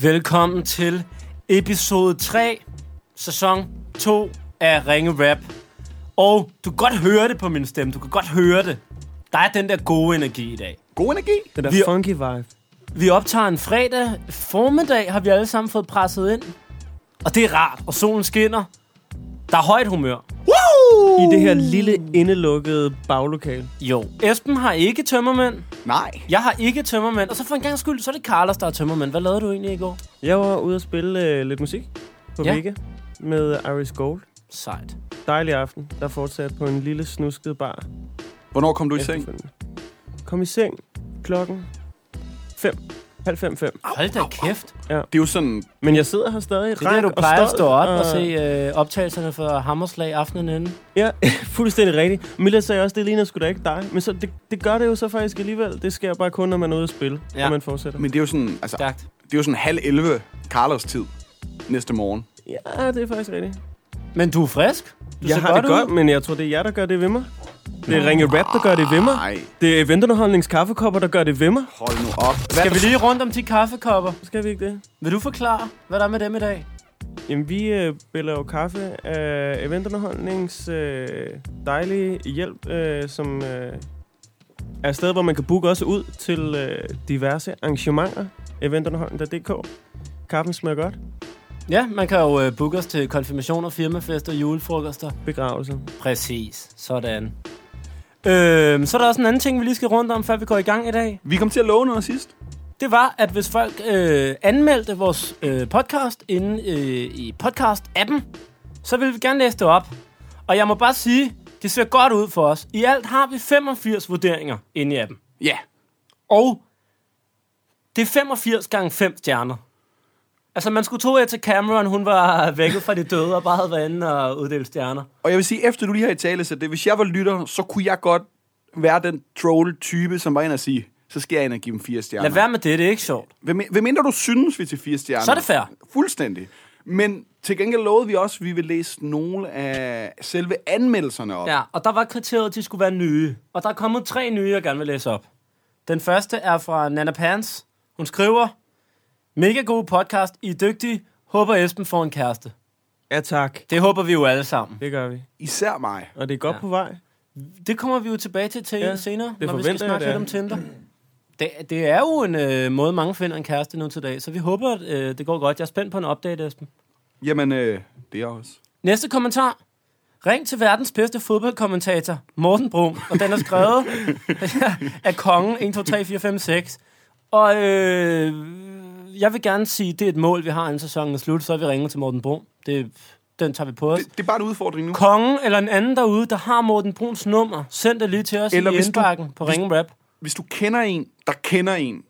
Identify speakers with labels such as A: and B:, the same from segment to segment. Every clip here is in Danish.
A: Velkommen til episode 3, sæson 2 af Ringe Rap. Og du kan godt høre det på min stemme, du kan godt høre det. Der er den der gode energi i dag.
B: God energi.
C: Den der
A: Vi-
C: funky vibe.
A: Vi optager en fredag formiddag, har vi alle sammen fået presset ind. Og det er rart, og solen skinner. Der er højt humør.
B: Woo!
C: I det her lille, indelukkede baglokale.
A: Jo, Esben har ikke tømmermænd.
B: Nej.
A: Jeg har ikke tømmermænd. Og så for en gang skyld, så er det Carlos, der er tømmermænd. Hvad lavede du egentlig i går?
C: Jeg var ude at spille øh, lidt musik på
A: Ja.
C: ja. Vega med Iris Gold.
A: Sejt.
C: Dejlig aften, der fortsat på en lille snusket bar.
B: Hvornår kom du i seng?
C: efterfølgende. Kom i seng klokken 5. Halv fem, fem.
A: Hold da kæft.
B: Det er jo sådan,
C: Men jeg sidder her stadig.
A: Det er der,
C: rank
A: du
C: og
A: plejer at
C: stolt,
A: stå op og se øh, optagelserne fra Hammerslag aftenen inden.
C: Ja, fuldstændig rigtigt. Milla sagde også, det ligner sgu da ikke dig. Men så, det, det gør det jo så faktisk alligevel. Det sker bare kun, når man er ude at spille,
A: Ja.
C: ja. og man fortsætter.
B: men det er jo sådan, altså,
A: Stærkt.
B: det er jo sådan halv 11 Carlos tid næste morgen.
C: Ja, det er faktisk rigtigt.
A: Men du er frisk. Du
C: Jeg
A: ser
C: har det
A: ud.
C: godt, men jeg tror, det er jer, der gør det ved mig. Det er Ringe Rap, der gør det ved mig.
B: Nej,
C: Det er eventunderholdningens kaffekopper, der gør det ved mig.
B: hold nu op. Hvad?
A: Skal vi lige rundt om de kaffekopper?
C: Skal vi ikke det?
A: Vil du forklare, hvad der er med dem i dag?
C: Jamen, vi øh, biller jo kaffe af eventunderholdningens øh, dejlige hjælp, øh, som øh, er et sted, hvor man kan booke også ud til øh, diverse arrangementer. Eventunderholdning.dk. Kaffen smager godt.
A: Ja, man kan jo øh, booke os til konfirmationer, firmafester, julefrokoster.
C: Begravelse.
A: Præcis. Sådan. Øhm, så er der også en anden ting, vi lige skal rundt om, før vi går i gang i dag.
B: Vi kom til at love noget sidst.
A: Det var, at hvis folk øh, anmeldte vores øh, podcast inde øh, i podcast-appen, så ville vi gerne læse det op. Og jeg må bare sige, det ser godt ud for os. I alt har vi 85 vurderinger inde i appen.
B: Ja.
A: Og det er 85 gange 5 stjerner. Altså, man skulle tro, at til Cameron, hun var vækket fra de døde og bare havde været inde og uddelt stjerner.
B: Og jeg vil sige, efter du lige har i tale det, hvis jeg var lytter, så kunne jeg godt være den troll-type, som var inde og sige, så skal jeg ind og give dem fire stjerner.
A: Lad være med det, det er ikke sjovt.
B: Hvem, hvem mindre du synes, vi er til fire stjerner.
A: Så er det fair.
B: Fuldstændig. Men til gengæld lovede vi også, at vi ville læse nogle af selve anmeldelserne op.
A: Ja, og der var kriteriet, at de skulle være nye. Og der er kommet tre nye, jeg gerne vil læse op. Den første er fra Nana Pans. Hun skriver, Mega god podcast, I er dygtige. Håber Esben får en kæreste.
C: Ja, tak.
A: Det håber vi jo alle sammen.
C: Det gør vi.
B: Især mig.
C: Og det er godt
A: Ja.
C: ja. på vej.
A: Det kommer vi jo tilbage til, til ja,
C: Ja,
A: senere,
C: det
A: når vi skal
C: forventer jeg,
A: snakke lidt om
C: det
A: Tinder. Det, det er jo en øh, måde, mange finder en kæreste nu til dag, så vi håber, at øh, det går godt. Jeg er spændt på en update, Esben.
B: Jamen, øh, det er jeg også.
A: Næste kommentar. Ring til verdens bedste fodboldkommentator, Morten Brum, og den er skrevet af kongen 1, 2, 3, 4, 5, 6. Og øh, jeg vil gerne sige, det er et mål, vi har, inden sæsonen er slut, så er vi ringer til Morten Brum. Det, den tager vi på os.
B: Det, det er bare en udfordring nu.
A: Kongen eller en anden derude, der har Morten Bruns nummer, send det lige til os
B: Eller
A: i
B: hvis du-
A: indbakken på Ringen Rap.
B: Hvis du kender en, der kender en,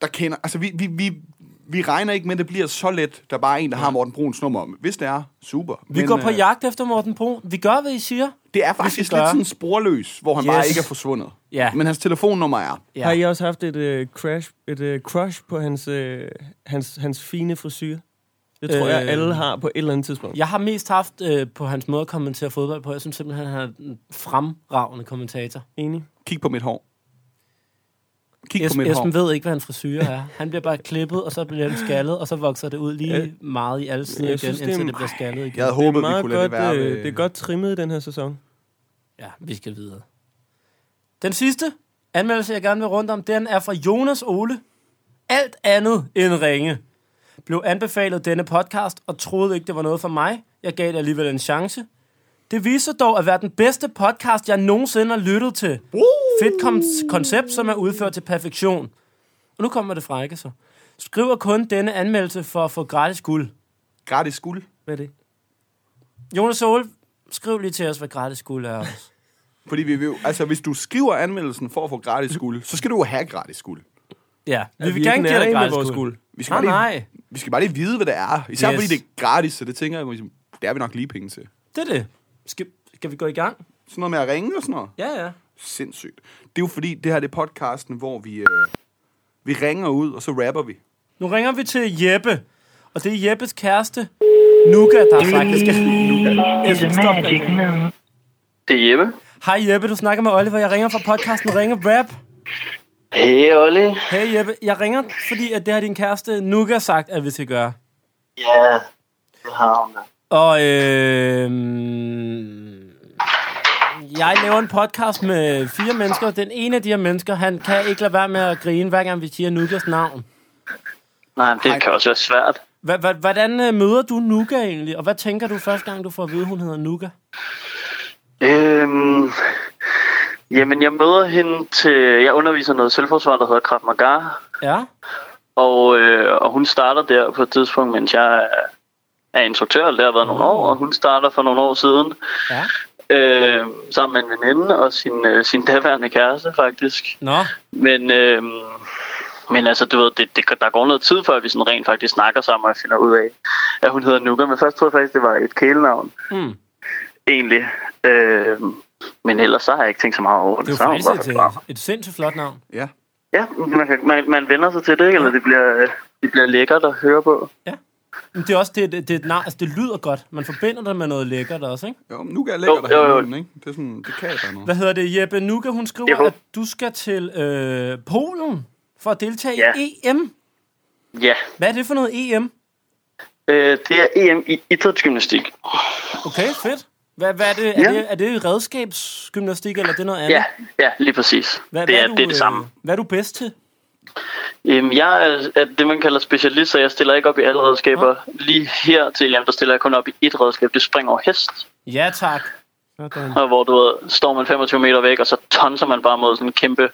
B: der kender... Altså, vi, vi, vi, vi regner ikke med, at det bliver så let, der bare er en, der har Morten Bruns nummer. Hvis det er, super. øh,
A: Vi Men, går på jagt efter Morten Brun. Vi gør, hvad I siger.
B: Det er faktisk lidt
A: gøre.
B: sådan sporløs, hvor han yes. bare
A: Yes.
B: ikke er forsvundet.
A: Ja.
B: Men hans telefonnummer er...
C: Ja. Har I også haft et, øh, crash, et øh, crush på hans, øh, hans, hans fine frisyr? Det tror øh, jeg,
A: Øh.
C: alle har på et eller andet tidspunkt.
A: Jeg har mest haft øh, på hans måde at kommentere fodbold på. Jeg synes simpelthen, han er en fremragende kommentator.
C: Enig.
B: Kig på mit hår. Kig
A: Es-
B: på mit hår.
A: Esben ved ikke, hvad en frisyr er. Han bliver bare klippet, og så bliver han skaldet, og så vokser det ud lige meget i alle sider igen,
C: Jeg synes,
A: synes,
C: det er
A: indtil
C: en-
A: det bliver skaldet igen.
B: Jeg havde
C: det
B: håbet, vi
C: er meget
B: kunne lade
C: godt,
B: det være.
C: øh,
B: med-
C: det er godt trimmet i den her sæson.
A: Ja, vi skal videre. Den sidste anmeldelse, jeg gerne vil rundt om, den er fra Jonas Ole. Alt andet end ringe. Blev anbefalet denne podcast, og troede ikke, det var noget for mig. Jeg gav det alligevel en chance. Det viser dog at være den bedste podcast, jeg nogensinde har lyttet til. Uh! Fedt kom- koncept, som er udført til perfektion. Og nu kommer det frække så. Skriver kun denne anmeldelse for at få gratis guld.
B: Gratis guld.
C: Hvad er det?
A: Jonas Sol, skriv lige til os, hvad gratis guld er. også.
B: Fordi vi vil, jo- altså, hvis du skriver anmeldelsen for at få gratis guld, så skal du jo have gratis guld.
A: Ja, vi
C: Er
A: vil gerne
C: ikke
A: give dig
C: nærmere med
A: gratis
C: vores
A: guld.
B: Vi skal,
A: Nej,
B: bare lige,
A: Ah, nej.
B: vi skal bare lige vide, hvad det er. Især
A: Yes.
B: yes. fordi det er gratis, så det tænker jeg, ligesom, det er vi nok lige penge til.
A: Det er det. Skal, skal vi gå i gang?
B: Sådan noget med at ringe og sådan noget.
A: Ja, ja.
B: Sindssygt. Det er jo fordi, det her det er podcasten, hvor vi, øh, vi ringer ud, og så rapper vi.
A: Nu ringer vi til Jeppe. Og det er Jeppes kæreste, Nuka, der er faktisk... Esben, stop med det.
D: Det er Jeppe.
A: Hej Jeppe, du snakker med Oliver. Jeg ringer fra podcasten Ringe Rap.
D: Hey Olli.
A: Hey Jeppe, jeg ringer, fordi at det har din kæreste Nuka sagt, at vi skal gøre.
D: Ja, det har hun da.
A: Og øh, jeg laver en podcast med fire mennesker. Den ene af de her mennesker, han kan ikke lade være med at grine, hver gang vi siger Nukas navn.
D: Nej, men det kan også være svært.
A: Hva- hva- Hvordan øh, møder du Nuka egentlig? Og hvad tænker du første gang, du får at vide, hun hedder Nuka?
D: Øhm, jamen, jeg møder hende til... Jeg underviser noget selvforsvar, der hedder Krav Maga.
A: Ja?
D: Og, øh, og hun starter der på et tidspunkt, mens jeg er, er instruktør. Det har været nogle år, og hun starter for nogle år siden.
A: Ja?
D: Øh, sammen med en veninde og sin, øh, sin daværende kæreste, faktisk.
A: Nå,
D: Men, øh, men altså, du ved, det, det, der går noget tid, før vi sådan rent faktisk snakker sammen og finder ud af, at hun hedder Nuka. Men først troede jeg faktisk, det var et kælenavn.
A: Mm.
D: Egentlig. Øh, men ellers så har jeg ikke tænkt så meget over det.
A: det er
D: Så
A: jo
D: har hun
A: faktisk
D: bare
A: et,
D: forklaret mig.
A: øh, et sindssygt flot navn.
B: Ja.
D: Ja, man, kan- man, man vender sig til det, ikke? Eller det bliver, øh, det bliver lækkert at høre på.
A: Men det er også det, det, det, er et navn, altså, det lyder godt. Man forbinder det med noget lækkert også, ikke?
B: Jo, men nu kan jeg lægge
D: Jo,
B: dig
D: jo, jo.
B: ikke? Det er sådan, det kan jeg bare noget.
A: Hvad hedder det? Jeppe Nuka, hun skriver,
D: Jo.
A: at du skal til øh, Polen for at deltage
D: Ja.
A: i EM.
D: Ja,
A: Hvad er det for noget E EM?
D: øh, det er EM i idrætsgymnastik.
A: Okay, fedt. Hvad, hvad er, det? Er,
D: Ja.
A: det, er det redskabsgymnastik, eller er det noget andet?
D: Ja, ja lige præcis.
A: Hvad,
D: det,
A: hvad
D: er, det er
A: øh,
D: det samme.
A: Hvad er du bedst til?
D: Jamen, Øhm, jeg er, er det, man kalder specialist, så jeg stiller ikke op i alle redskaber. Lige her til jamen, der stiller jeg kun op i et redskab. Det springer over hest,
A: Ja, tak.
C: Sådan.
D: og hvor du ved, står man 25 meter væk, og så tonser man bare mod sådan en kæmpe,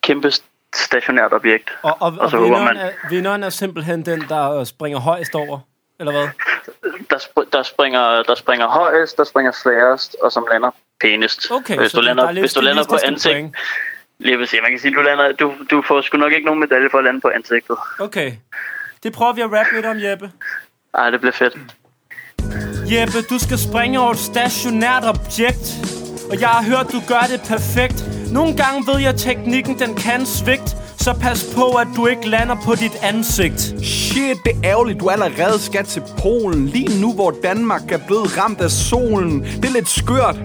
D: kæmpe stationært objekt.
A: Og, og, og,
D: Og så håber
A: vinderen,
D: man-
A: er, vinderen er simpelthen den, der øh, springer højst over, eller hvad?
D: Der, sp- der, springer, der springer højest, der springer sværest, og som lander pænest.
A: Okay,
D: hvis,
A: så
D: du
A: det- der
D: lander,
A: er lidt
D: hvis du lander på
A: stilistiske
D: ansigt,
A: point.
D: lige vil sige, man kan sige, du, lander, du, du får sgu nok ikke nogen medalje for at lande på ansigtet.
A: Okay. Det prøver vi at rappe lidt om, Jeppe.
D: Ej, det bliver fedt.
A: Mm. Jeppe, du skal springe over et stationært objekt Og jeg har hørt, du gør det perfekt Nogle gange ved jeg, at teknikken den kan svigt Så pas på, at du ikke lander på dit ansigt
B: Shit, det er ærgerligt, du allerede skal til Polen. Lige nu, hvor Danmark er blevet ramt af solen. Det er lidt skørt.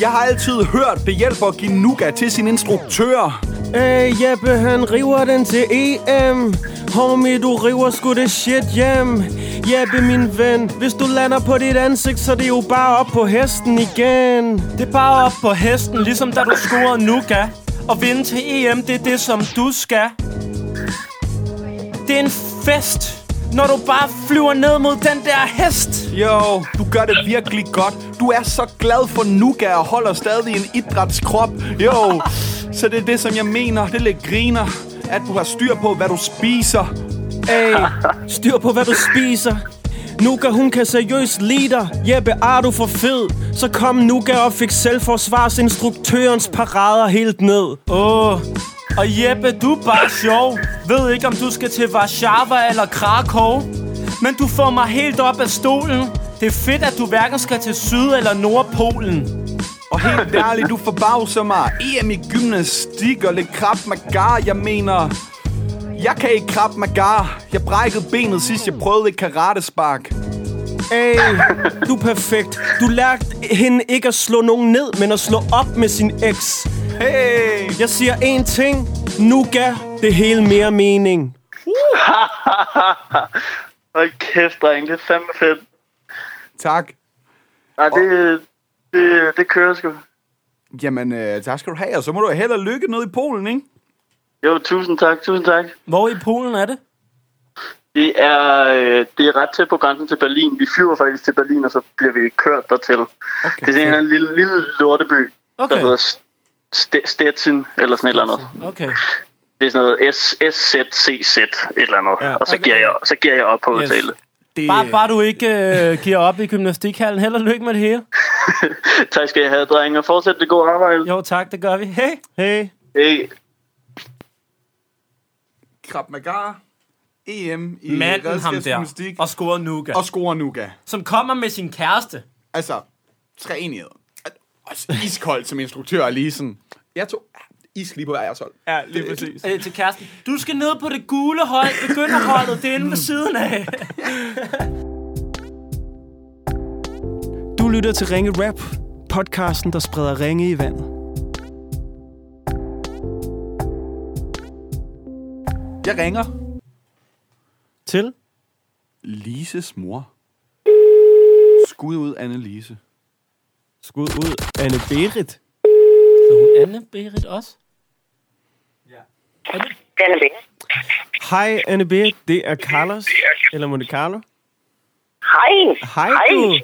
B: Jeg har altid hørt, det hjælper at give nuga til sin instruktør.
C: Hey, Øh, Jeppe, han river den til EM. Homie, du river sgu det shit hjem. Jeppe, min ven, hvis du lander på dit ansigt, så er det jo bare op på hesten igen.
A: Det er bare op på hesten, ligesom da du scorede Nuka Og vinde til EM, det er det, som du skal Det er en fest, når du bare flyver ned mod den der hest
B: Jo, du gør det virkelig godt. Du er så glad for nuga og holder stadig en idrætskrop. Jo, så det er det, som jeg mener. Det er lidt griner, at du har styr på, hvad du spiser.
C: Hey, styr på, hvad du spiser. Nuka, hun kan seriøst lide dig. Jeppe, er du for fed? Så kom Nuka og fik selvforsvarsinstruktørens parader helt ned.
A: Åh, oh. og Jeppe, du er bare sjov. Ved ikke, om du skal til Warszawa eller Krakow. Men du får mig helt op af stolen. Det er fedt, at du hverken skal til Syd- eller Nordpolen.
B: Og helt ærligt, du forbavser mig. EM i gymnastik og lidt krab magar, jeg mener... Jeg kan ikke krab magar. Jeg brækkede benet sidst, jeg prøvede et karatespark.
C: Hey, du er perfekt. Du lærte hende ikke at slå nogen ned, men at slå op med sin eks.
B: Hey!
C: Jeg siger én ting. Nu gav det hele mere mening.
D: Hold kæft, dreng. Det er fandme fedt.
B: Tak.
D: Ej, det, det, det kører sgu.
B: Jamen, øh, tak skal du have, og så må du hellere lykke ned i Polen, ikke?
D: Jo, tusind tak, tusind tak.
A: Hvor i Polen er det?
D: Det er, øh, det er ret tæt på grænsen til Berlin. Vi flyver faktisk til Berlin, og så bliver vi kørt dertil. Okay. Det er sådan en eller anden lille, lille lorteby, okay.
A: Okay.
D: der hedder St- St- Stettin, eller sådan et eller andet.
A: Okay.
D: Det er sådan noget S- SZCZ, et eller andet. Ja, og så,
A: okay.
D: giver jeg, så giver jeg op på
A: Yes.
D: hotellet.
B: Det,
A: Bare, bare du ikke øh, giver op i gymnastikhallen. Held og lykke med det hele.
D: tak skal jeg have, drenge, og fortsæt det gode arbejde.
A: Jo tak, det gør vi. Hey.
C: Hey.
D: Hey.
B: Krab magar, EM E i
A: Manden ham der.
B: redskabsgymnastik
A: Og scorer Nuka.
B: og score nuga.
A: Som kommer med sin kæreste.
B: Altså, træenighed. Også iskoldt som instruktør og lige sådan. Jeg tog ah, is lige på hver jeres hold.
C: Ja, lige præcis.
A: Øh, til kæresten. Du skal ned på det gule hold. Begynderholdet, det er inde ved siden af.
C: Du lytter til Ringe Rap, podcasten, der spreder ringe i vandet.
B: Jeg ringer.
C: Til?
B: Lises mor. Skud ud, Anne-Lise.
C: Skud ud. Anne Berit.
A: Så hun Anne Berit også?
E: Den er bedre.
C: Hej, Anne Berit. Det er Carlos. Eller Monte Carlo.
E: Hej.
C: Hej, du.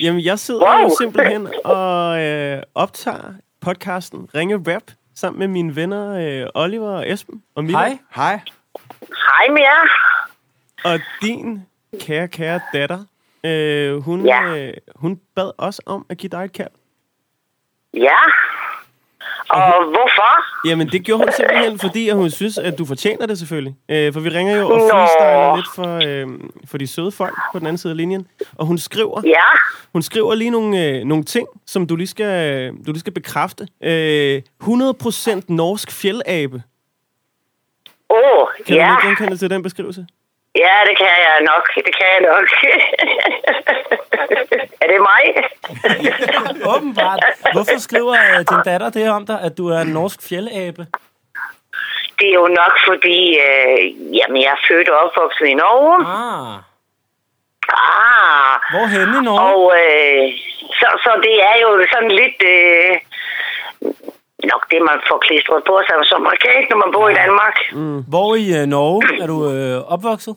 C: Jamen, jeg sidder wow.
E: Wow.
C: jo simpelthen og øh, optager podcasten Ringe Rap sammen med mine venner øh, Oliver og Esben og Mila.
A: Hej.
B: Hej.
E: Hej med jer.
C: Og din kære, kære datter, øh, hun,
E: Ja.
C: øh, hun bad os om at give dig et kald.
E: Ja. Og hvorfor?
C: Jamen, det gjorde hun simpelthen, fordi at hun synes, at du fortjener det selvfølgelig. Øh, for vi ringer jo og
E: Nå.
C: freestyler lidt for, øh, for de søde folk på den anden side af linjen. Og hun skriver,
E: Ja.
C: hun skriver lige nogle, øh, nogle ting, som du lige skal, du lige skal bekræfte. Øh, 100% norsk fjeldabe.
E: Åh, oh,
C: Kan
E: ja.
C: du lige genkende til den beskrivelse?
E: Ja, det kan jeg nok. Det kan jeg nok. er det mig?
A: Åbenbart. Hvorfor skriver øh, din datter det om dig, at du er en norsk fjeldabe?
E: Det er jo nok, fordi øh, jamen, jeg er født og opvokset i Norge.
A: Ah,
E: Ah,
A: hvorhenne i Norge?
E: og øh, så, så det er jo sådan lidt... Øh, nok det, man får klistret på sig som amerikaner, når man bor i Danmark.
A: Hvor i øh, Norge er du øh, opvokset?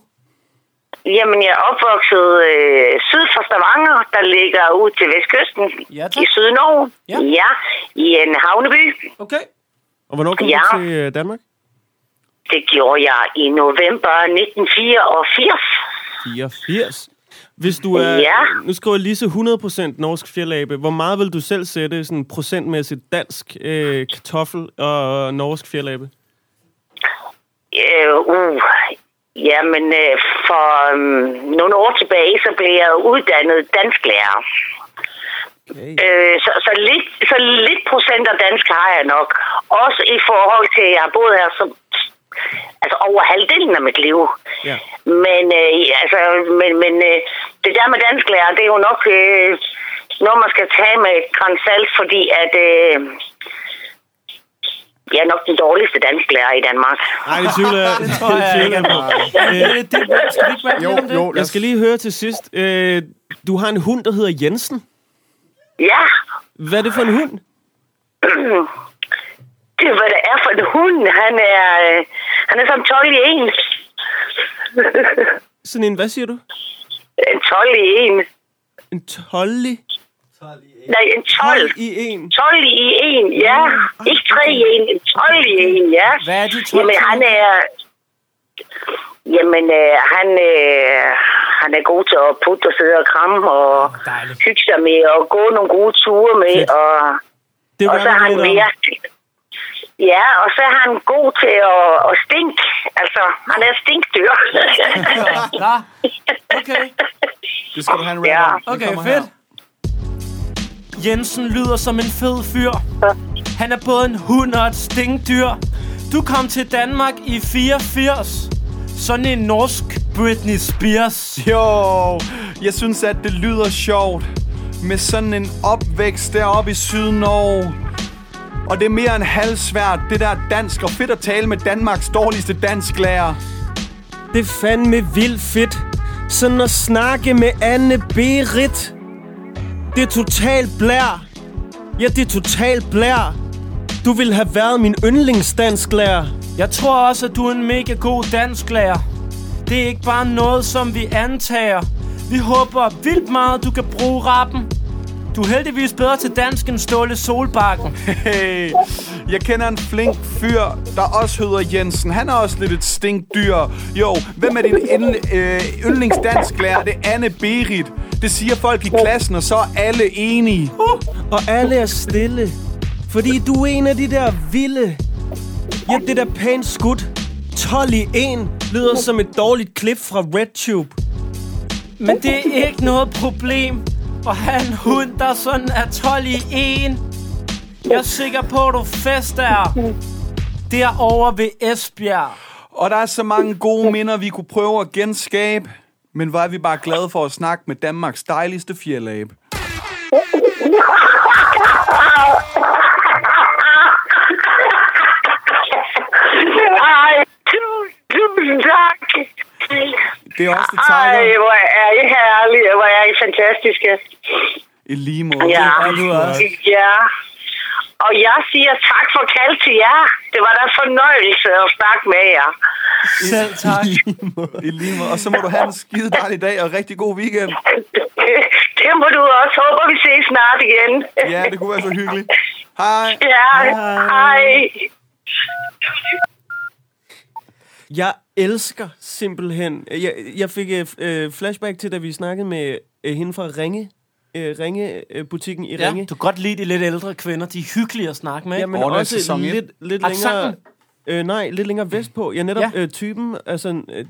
E: Jamen, jeg er opvokset øh, syd for Stavanger, der ligger ud til vestkysten
A: Ja, tak.
E: i Sydnorge.
A: Ja.
E: ja, i en havneby.
A: Okay.
C: Og hvornår kom
E: Ja.
C: du til øh, Danmark?
E: Det gjorde jeg i november 1984.
C: 84. Hvis du er,
E: Ja.
C: nu skriver Lise 100% norsk fjellabe, hvor meget vil du selv sætte sådan procentmæssigt dansk øh, kartoffel og norsk fjellabe?
E: Øh, uh. Jamen, øh, for øh, nogle år tilbage, så blev jeg uddannet dansklærer.
C: Okay.
E: Øh, så, så, lidt, så lidt procent af dansk har jeg nok. Også i forhold til, at jeg har boet her som, altså over halvdelen af mit liv.
C: Ja.
E: Men, øh, altså, men, men øh, det der med dansklærer, det er jo nok øh, noget, man skal tage med et gran salt, fordi at, øh, jeg er nok den dårligste dansklærer i Danmark.
C: Nej, det tvivler jeg. Det
A: tror jeg
C: tvivler
A: ikke,
C: jeg på.
A: Det er dit valg. Skal vi ikke være lidt om det?
C: Jeg skal lige høre til sidst. Øh, du har en hund, der hedder Jensen.
E: Ja,
C: Hvad er det for en hund?
E: det er, hvad det er for en hund. Han er, øh, han er som 12 i en.
C: Sådan en, hvad siger du?
E: en 12 i en.
C: En tolli?
E: Nej, en 12.
C: Tolv i en.
E: 12 i en, ja. Ikke 3 i en, en 12 i en, ja.
A: Hvad er de 12
E: Jamen, han er... Jamen, øh, han, øh, han er god til at putte og sidde og kramme og
A: Dejligt.
E: hygge sig med og gå nogle gode ture med. Og,
C: Det
E: og så
C: rører
E: er
C: mig
E: han
C: lidt om.
E: virkelig... Ja, og så er han god til at, at stinke. Altså, han er stinkdyr.
A: Nå, okay.
B: Det skal du have en
E: Ja.
B: rap om. Den
A: Okay,
B: kommer
A: fedt. Jensen lyder som en fed fyr. Han er både en hund og et stinkdyr. Du kom til Danmark i 84. Sådan en norsk Britney Spears.
B: Jo, jeg synes, at det lyder sjovt med sådan en opvækst deroppe i Sydnorge. Og det er mere end halvsvært, det der dansk, og fedt at tale med Danmarks dårligste dansklærer.
C: Det er fandme vildt fedt. Sådan at snakke med Anne Berit. Det er totalt blær. Ja, det er totalt blær. Du ville have været min yndlingsdansklærer.
A: Jeg tror også, at du er en mega god dansklærer. Det er ikke bare noget, som vi antager. Vi håber vildt meget, du kan bruge rappen. Du er heldigvis bedre til dansk end Ståle Solbakken.
B: Hey, jeg kender en flink fyr, der også hedder Jensen. Han er også lidt et stinkdyr. Jo, hvem er din indl- øh, yndlingsdansklærer? Det er Anne Berit. Det siger folk i klassen, og så er alle enige.
C: Og alle er stille. Fordi du er en af de der vilde. Ja, det der pænt skudt. 12 i 1 lyder som et dårligt klip fra RedTube.
A: Men det er ikke noget problem at have en hund, der sådan er 12 i 1. Jeg er sikker på, at du fester derovre ved Esbjerg.
B: Og der er så mange gode minder, vi kunne prøve at genskabe. Men hvor er vi bare glade for at snakke med Danmarks dejligste fjellabe.
E: Ej, du, du,
B: Det er også det
E: Ej,
B: takker.
E: hvor er I herlige, hvor er I fantastiske.
B: I lige måde.
E: Ja.
B: Det er du også.
E: Ja. Og jeg siger tak for kald til jer. Det var da en fornøjelse at snakke med jer.
A: Selv tak.
B: I lige måde. Og så må du have en skide dejlig dag og rigtig god weekend.
E: Det må du også. Håber vi ses snart igen.
B: Ja, det kunne være så hyggeligt. Hej.
E: Ja, hej.
C: Jeg elsker simpelthen... Jeg, jeg fik øh, f- øh, flashback til, da vi snakkede med øh, hende fra Ringe. Øh, Ringe-butikken i
A: Ja,
C: Ringe.
A: du kan godt lide de lidt ældre kvinder. De er hyggelige at snakke med.
C: Ja,
A: ikke?
C: men
B: Overnight
C: også
B: sæson et.
C: lidt, lidt længere...
A: Accenten.
C: Øh, nej, lidt længere vestpå. Ja, netop
A: Ja.
C: ja. Øh, typen, altså øh,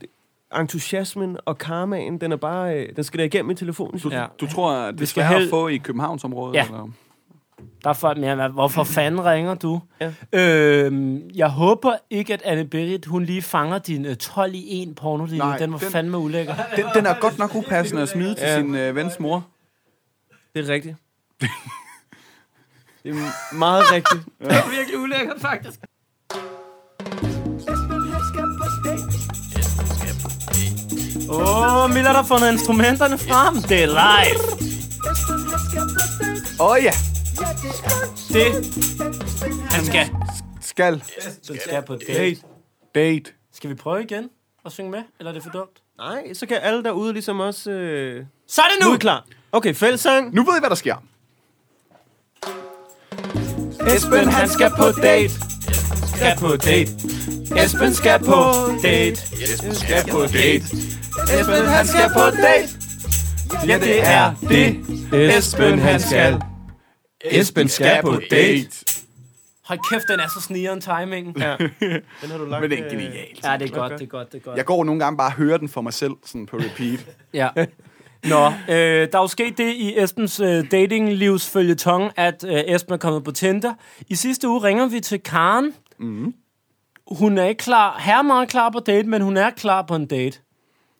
C: entusiasmen og karmaen, den er bare... Øh, den skal da igennem i telefonen. synes jeg.
A: Ja.
B: Du tror, at det er
A: skal
B: svært
A: hel-
B: at få i Københavnsområdet?
A: Ja.
B: Eller?
A: Der er folk mere, hvad- hvorfor fanden ringer du?
C: Ja.
A: Øhm, jeg håber ikke, at Anne Berit, hun lige fanger din øh, 12 i 1 pornolinje.
B: Nej,
A: Den var
B: den-
A: fandme ulækker.
B: Den, den er godt nok upassende at smide til
C: Ja.
B: sin øh, vens mor.
C: Det er rigtigt. det er meget rigtigt.
A: virkelig ulækkert, faktisk. Åh, oh, Miller der har fundet instrumenterne frem. Det er live.
B: Åh oh, ja,
A: Det, han skal.
B: skal.
A: Den skal på date.
B: Date. Date.
A: Skal vi prøve igen at synge med, eller er det for dumt?
C: Nej, så kan alle derude ligesom også... Øh,
A: Så er det
C: nu
A: nu!
C: er I klar. Okay, fællesang.
B: Nu ved I, hvad der sker.
A: Esben, han skal på date. Skal på date. Esben skal på date.
B: Skal på date.
A: Esben, han skal på date.
B: Ja, det er det. Esben, han skal. Esben skal på date.
A: Hold kæft, den er så snigeren timingen.
C: Ja. Den har du lagt...
B: Men det er
C: øh,
B: genialt.
A: Ja, det er godt, det er godt, det er godt.
B: Jeg går nogle gange bare og hører den for mig selv, sådan på repeat.
A: Ja. Nå, øh, der er jo sket det i Esbens øh, datinglivs følgetong, at øh, Esben er kommet på Tinder. I sidste uge ringer vi til Karen. Mm.
B: Mm-hmm.
A: Hun er ikke klar, her er meget klar på date, men hun er klar på en date.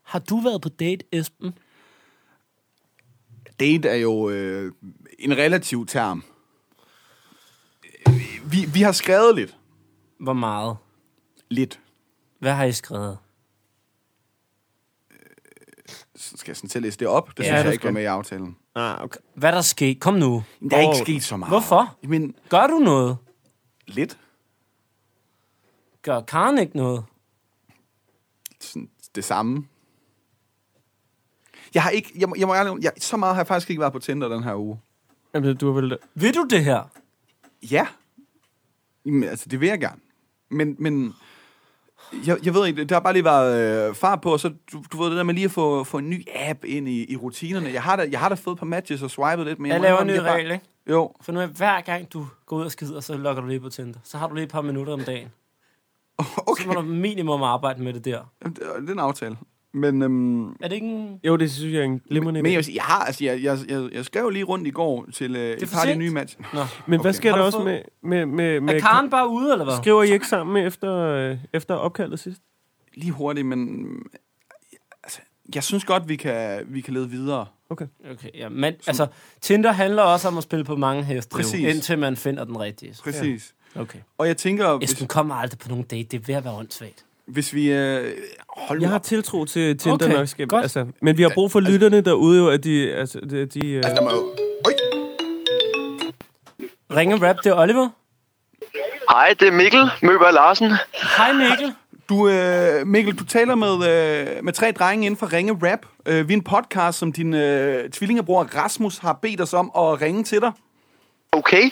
A: Har du været på date, Esben?
B: Date er jo øh, en relativ term. Vi, vi har skrevet lidt.
A: Hvor meget?
B: Lidt.
A: Hvad har I skrevet?
B: Så Skal jeg sådan til at læse det op? Det ja,
A: det
B: synes jeg
A: skal
B: ikke var med i aftalen.
C: Ah, okay.
A: Hvad er der sket? Kom nu.
B: Der er ikke sket så meget.
A: Hvorfor?
B: Men
A: Gør du noget?
B: lidt.
A: Gør Karen ikke noget?
B: sådan, det samme. Jeg har ikke, jeg, må- jeg må ærligt, indrømme, jeg, så meget har jeg faktisk ikke været på Tinder den her uge.
C: Jamen, du har vel...
A: Vil du det her?
B: Ja. Jamen, altså, det vil jeg gerne. Men, men jeg, jeg ved ikke, der har bare lige været øh, far på, og så, du, du ved det der med lige at få, få en ny app ind i, i rutinerne. Jeg har, da, jeg har da fået på matches og swipet lidt, men
A: Jeg
B: må
A: laver en
B: indrømme,
A: ny
B: det er bare-
A: regel, ikke?
B: Jo,
A: For nu er hver gang, du går ud og skider, så logger du lige på Tinder. Så har du lige et par minutter om dagen. Så
B: okay.
A: må du minimum arbejde med det der.
B: Jamen, Det er det er en aftale. Men, øhm,
A: Er det ikke en...
C: Jo, det synes jeg er en glimrende
B: men jeg,
C: idé.
B: vil sige, jeg har, altså, jeg, jeg, jeg, jeg skrev lige rundt i går til øh,
A: er
B: et
A: for
B: par af de
A: sent.
B: nye matches.
A: Nå.
C: Men hvad
B: Okay.
C: sker
A: Har
C: der
A: du
C: også
A: fået-
C: med... med, med, med
A: Er Karen bare ude, eller hvad?
C: Skriver I ikke sammen efter, øh, efter opkaldet sidst?
B: lige hurtigt, men mm, altså, jeg synes godt, vi kan, vi kan lede videre.
C: Okay.
A: Okay, ja. Men altså, Tinder handler også om at spille på mange heste, jo,
B: Præcis.
A: indtil man finder den rigtige.
B: Præcis. Ja.
A: Okay.
B: Og jeg tænker, hvis,
A: Esben kommer aldrig på nogen date. Det er ved at være åndssvagt.
B: hvis vi... Øh, hold
C: Jeg
B: nu
C: har
B: op.
C: tiltro til Tinder
A: Okay,
C: nok. Skal,
A: godt.
C: altså, men vi har brug for lytterne derude, jo, at de... Altså, de, de øh,
B: Der må jo- Øj!
A: Ringe rap, det er Oliver.
F: Hej, det er Mikkel Møber Larsen.
A: Hej Mikkel.
B: Du, øh, Mikkel, du taler med, øh, med tre drenge inden for Ringe Rap. Øh, vi er en podcast, som din øh, tvillingebror Rasmus har bedt os om at ringe til dig.
F: Okay.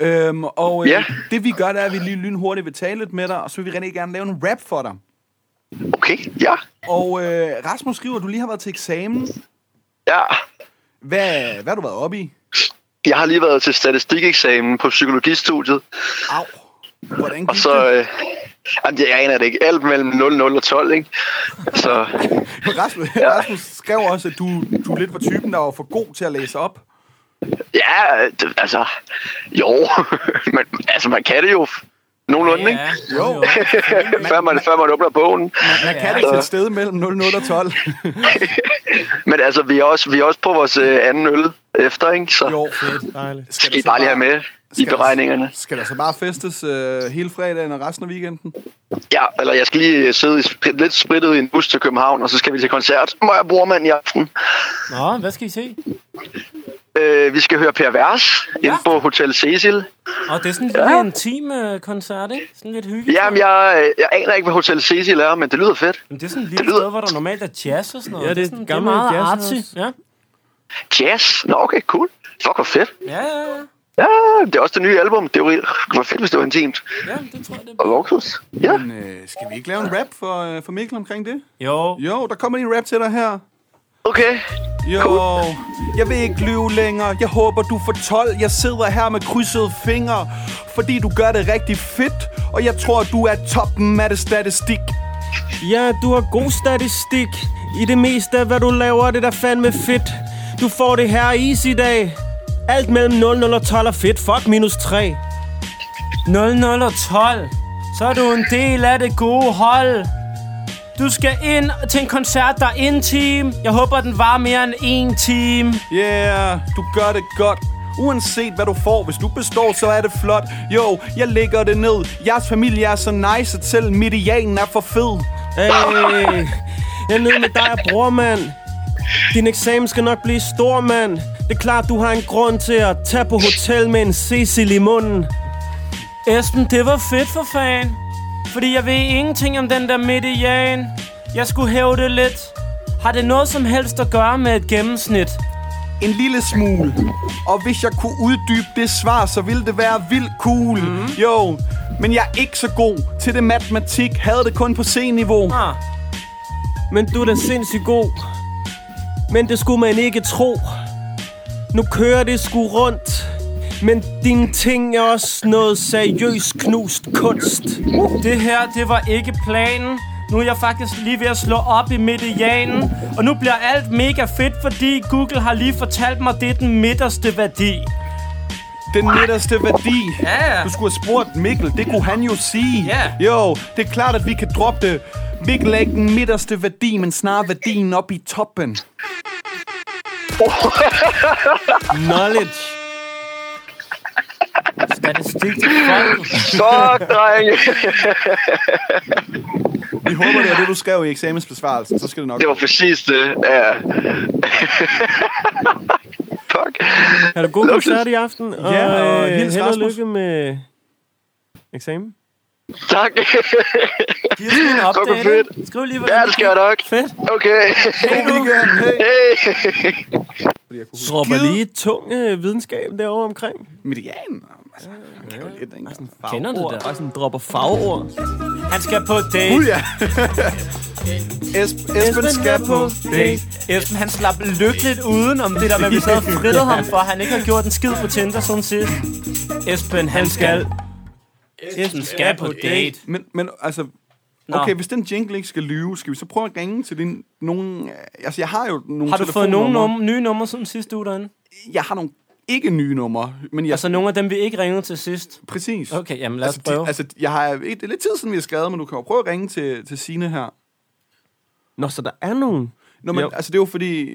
B: Øhm, og øh,
F: Ja.
B: det vi gør, det er, at vi lige lynhurtigt vil tale lidt med dig, og så vil vi rigtig gerne lave en rap for dig.
F: Okay, ja.
B: Og øh, Rasmus skriver, at du lige har været til eksamen.
F: Ja.
B: Hvad, hvad har du været oppe i?
F: Jeg har lige været til statistikeksamen på psykologistudiet,
B: Au. Hvordan gik
F: og så...
B: det?
F: Øh, jamen, jeg aner det ikke. Alt mellem 0, 0 og 12, ikke? Altså, Så
B: Rasmus, Rasmus skrev også, at du, du lidt var typen, der var for god til at læse op.
F: ja, det, altså... Jo, man, altså man kan det jo nogenlunde, ikke?
B: Jo.
A: jo.
F: Før man, før man åbner bogen.
B: Man kan det til et sted mellem 00 og 12.
F: Men altså, vi er også, vi er også på vores øh, anden øl efter, ikke? Så
B: Jo,
C: dejligt.
F: skal I bare lige have med. i beregningerne.
B: Skal der så bare festes øh, hele fredagen og resten af weekenden?
F: Ja, eller jeg skal lige øh, sidde i spri- lidt sprittet i en bus til København, og så skal vi til koncert. Må jeg bruge mand i aften?
A: Nå, hvad skal I se?
F: Øh, vi skal høre Per Vers ja. inde på Hotel Cecil.
A: Og det er sådan en lille ja. intim øh, koncert, ikke? Sådan lidt hyggeligt.
F: Jamen, jeg, øh, jeg aner ikke, hvad Hotel Cecil er, men det lyder fedt.
A: Jamen, det er sådan et
F: det
A: lille
F: lyder-
A: sted, hvor der normalt er jazz og sådan noget.
C: Ja, det er
A: sådan,
C: gamle
A: det er meget
C: jazzhus.
A: artsy. Ja.
F: Jazz? Nå, okay, cool. Fuck, hvor fedt.
A: Ja, ja, ja.
F: Ja, det er også det nye album. Det var, det var fedt, hvis det var intimt.
A: ja, det tror jeg, det
F: Og vokset. Ja.
B: Men, øh, skal vi ikke lave en rap for, øh, for Mikkel omkring det?
A: Jo,
B: Jo, der kommer lige en rap til dig her.
F: Okay.
B: Jo, jeg vil ikke lyve længere. Jeg håber, du får 12. Jeg sidder her med krydsede fingre, fordi du gør det rigtig fedt. Og jeg tror, du er toppen af det statistik.
C: Ja, du har god statistik i det meste af, hvad du laver. Det er da fandme fedt. Du får det her is i dag. Alt mellem 0, 0 og 12 er fedt. Fuck minus 3.
A: 00 og 12, så er du en del af det gode hold. Du skal ind til en koncert, der er intim. Jeg håber, den var mere end en time.
B: Yeah, du gør det godt. Uanset hvad du får, hvis du består, så er det flot. Jo, jeg lægger det ned. Jeres familie er så nice, at selv medianen er for fed.
C: Hey, jeg er nede med dig og bror, mand. Din eksamen skal nok blive stor, mand. Det er klart, du har en grund til at tage på hotel med en Cecil i munden.
A: Esben, det var fedt for fan. Fordi jeg ved ingenting om den der median. Jeg skulle hæve det lidt. Har det noget som helst at gøre med et gennemsnit?
B: En lille smule. Og hvis jeg kunne uddybe det svar, så ville det være vildt cool.
A: Mhm.
B: Mm. Jo, men jeg er ikke så god til det matematik. Havde det kun på C-niveau.
A: Ah,
C: Men du er da sindssygt god. Men det skulle man ikke tro. Nu kører det sgu rundt. Men dine ting er også noget seriøst knust kunst.
A: det her, det var ikke planen. Nu er jeg faktisk lige ved at slå op i medianen. Og nu bliver alt mega fedt, fordi Google har lige fortalt mig, det er den midterste værdi.
B: Den midterste værdi.
A: Ja.
B: Du skulle have spurgt Mikkel, det kunne han jo sige.
A: Ja.
B: Jo, det er klart, at vi kan droppe det. Mikkel er ikke den midterste værdi, men snarere værdien op i toppen.
C: Knowledge.
A: Statistik til folket.
F: Godt, drenge.
B: Vi håber, det er det, du skrev i eksamensbesvarelsen. Så skal det nok.
F: Det var præcis det. Ja. Fuck.
C: Er du god
F: Luksus.
C: koncert i aften? Og,
B: Ja, og
C: øh,
B: hils
C: held og
B: Rasmus.
C: lykke med eksamen.
F: Tak.
A: Giv os lige en
F: Fuck, hvor
A: opdatering. Skriv lige, hvad
F: ja, det skal jeg nok.
A: Fedt.
F: Okay. Hey.
C: Dropper lige tung øh, videnskab derovre omkring.
B: Median. Altså, han kan jo lidt, ikke? Sådan
A: Kender du det der?
C: Og sådan dropper fagord.
A: Han skal på date.
B: Gud, ja. Esben, Esben skal på date.
A: Esben, han slap lykkeligt uden om det der, hvad vi så frittede ham for. Han ikke har gjort en skid på Tinder sådan sidst. Esben, han skal. Esben skal på date.
B: Men, men altså,
A: Nå.
B: okay, hvis den jingle ikke skal lyve, skal vi så prøve at ringe til din nogen... Altså, jeg har jo nogle
A: Har du fået
B: telefonnumre.
A: nogle numre, nye numre siden sidste uge derinde?
B: Jeg har nogle ikke nye numre, men jeg...
A: Altså nogle af dem, vi ikke ringede til sidst.
B: præcis.
A: Okay, jamen lad os
B: altså,
A: prøve.
B: De, altså, jeg har, det er lidt tid siden, vi har skrevet, men du kan jo prøve at ringe til, til Sine her.
C: Nå, så der er nogen.
B: Nå, men,
C: Jo.
B: altså, det er jo fordi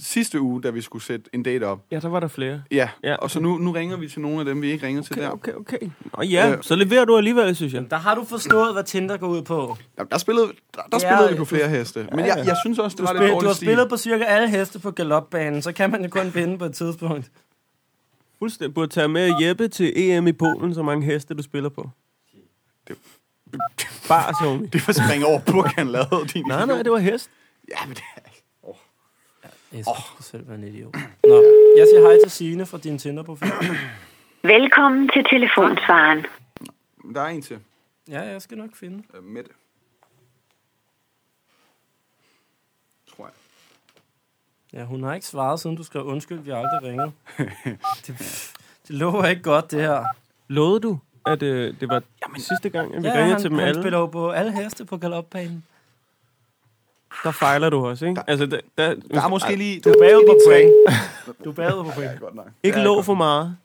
B: sidste uge, da vi skulle sætte en date op.
C: Ja, der var der flere.
B: Ja,
C: Ja,
B: og så nu, nu ringer vi til nogle af dem, vi ikke ringer til der.
C: Okay, okay. Nå ja,
B: Øh.
C: så leverer du alligevel, synes jeg.
A: Der har du forstået, hvad Tinder går ud på.
B: Jamen, der spillede, der, der
A: Ja,
B: spillede vi
A: øh,
B: på flere heste. Men jeg, jeg synes også, det var lidt
A: Du har
B: dårlig stil.
A: spillet på cirka alle heste på galopbanen, så kan man jo kun vinde på et tidspunkt.
C: Fuldstændig. Burde tage med Jeppe til EM i Polen, så mange heste du spiller på.
B: Det-
C: Bare Tommy.
B: Det var springe over på, han lavede din
C: Nej, nej, det var hest.
B: Ja, men det er...
A: Esben, oh. du selv være en idiot. Nå, jeg siger hej til Signe fra din Tinder-profil.
G: Velkommen til telefonsvaren.
B: Der er en til.
A: ja, jeg skal nok finde.
B: Øh, Mette. Tror jeg.
A: Ja, hun har ikke svaret, siden du skrev undskyld, vi aldrig ringede. det, det lover ikke godt, det her.
C: Lovede du, at øh, det var Jamen, sidste gang, at vi ja, ringede
A: han,
C: til dem
A: han
C: alle?
A: spiller jo på alle heste på galopbanen.
C: Der fejler du også, ikke? Altså, der, der,
B: Der er måske lige...
A: Du er bagud på point. Du er bagud på point.
B: Godt nok.
C: ikke lå for meget.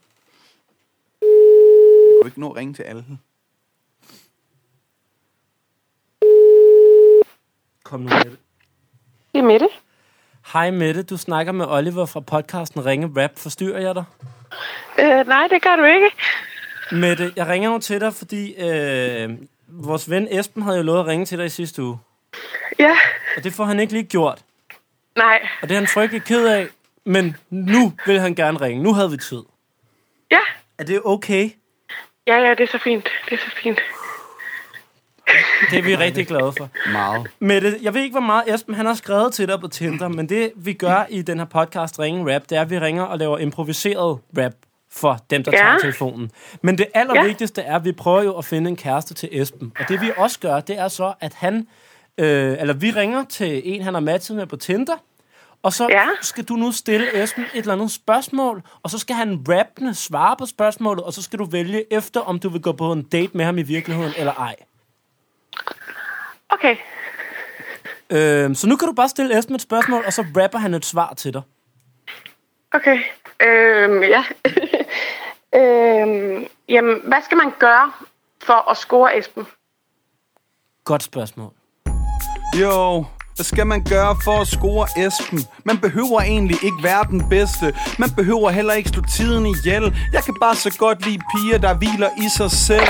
B: Jeg kunne ikke nå at ringe til alle.
A: Kom nu med det.
H: Det er Mette.
A: Hej Mette, du snakker med Oliver fra podcasten Ringe Rap. Forstyrrer jeg dig?
H: Øh, nej, det gør du ikke.
A: Mette, jeg ringer nu til dig, fordi øh, vores ven Esben havde jo lovet at ringe til dig i sidste uge.
H: Ja,
A: Og det får han ikke lige gjort.
H: nej.
A: Og det er han frygtelig ked af. Men nu vil han gerne ringe. Nu havde vi tid.
H: Ja,
A: Er det okay?
H: ja, ja, det er så fint. Det er så fint.
A: Det er vi rigtig glade for.
B: Meget.
A: Mette, jeg ved ikke, hvor meget Esben han har skrevet til dig på Tinder, men det vi gør i den her podcast Ringe Rap, det er, at vi ringer og laver improviseret rap for dem, der
H: Ja.
A: tager telefonen. Men det allervigtigste er, at vi prøver jo at finde en kæreste til Esben. Og det vi også gør, det er så, at han, øh, eller vi ringer til en, han har matchet med på Tinder, og så
H: Ja.
A: skal du nu stille Esben et eller andet spørgsmål, og så skal han rappende svare på spørgsmålet, og så skal du vælge efter, om du vil gå på en date med ham i virkeligheden eller ej.
H: Okay,
A: Øhm, så nu kan du bare stille Esben et spørgsmål, og så rapper han et svar til dig.
H: okay. Øhm, ja. øhm, jamen, hvad skal man gøre for at score Esben?
A: Godt spørgsmål.
B: Jo, hvad skal man gøre for at score Esben? Man behøver egentlig ikke være den bedste. Man behøver heller ikke slå tiden ihjel. Jeg kan bare så godt lide piger, der hviler i sig selv.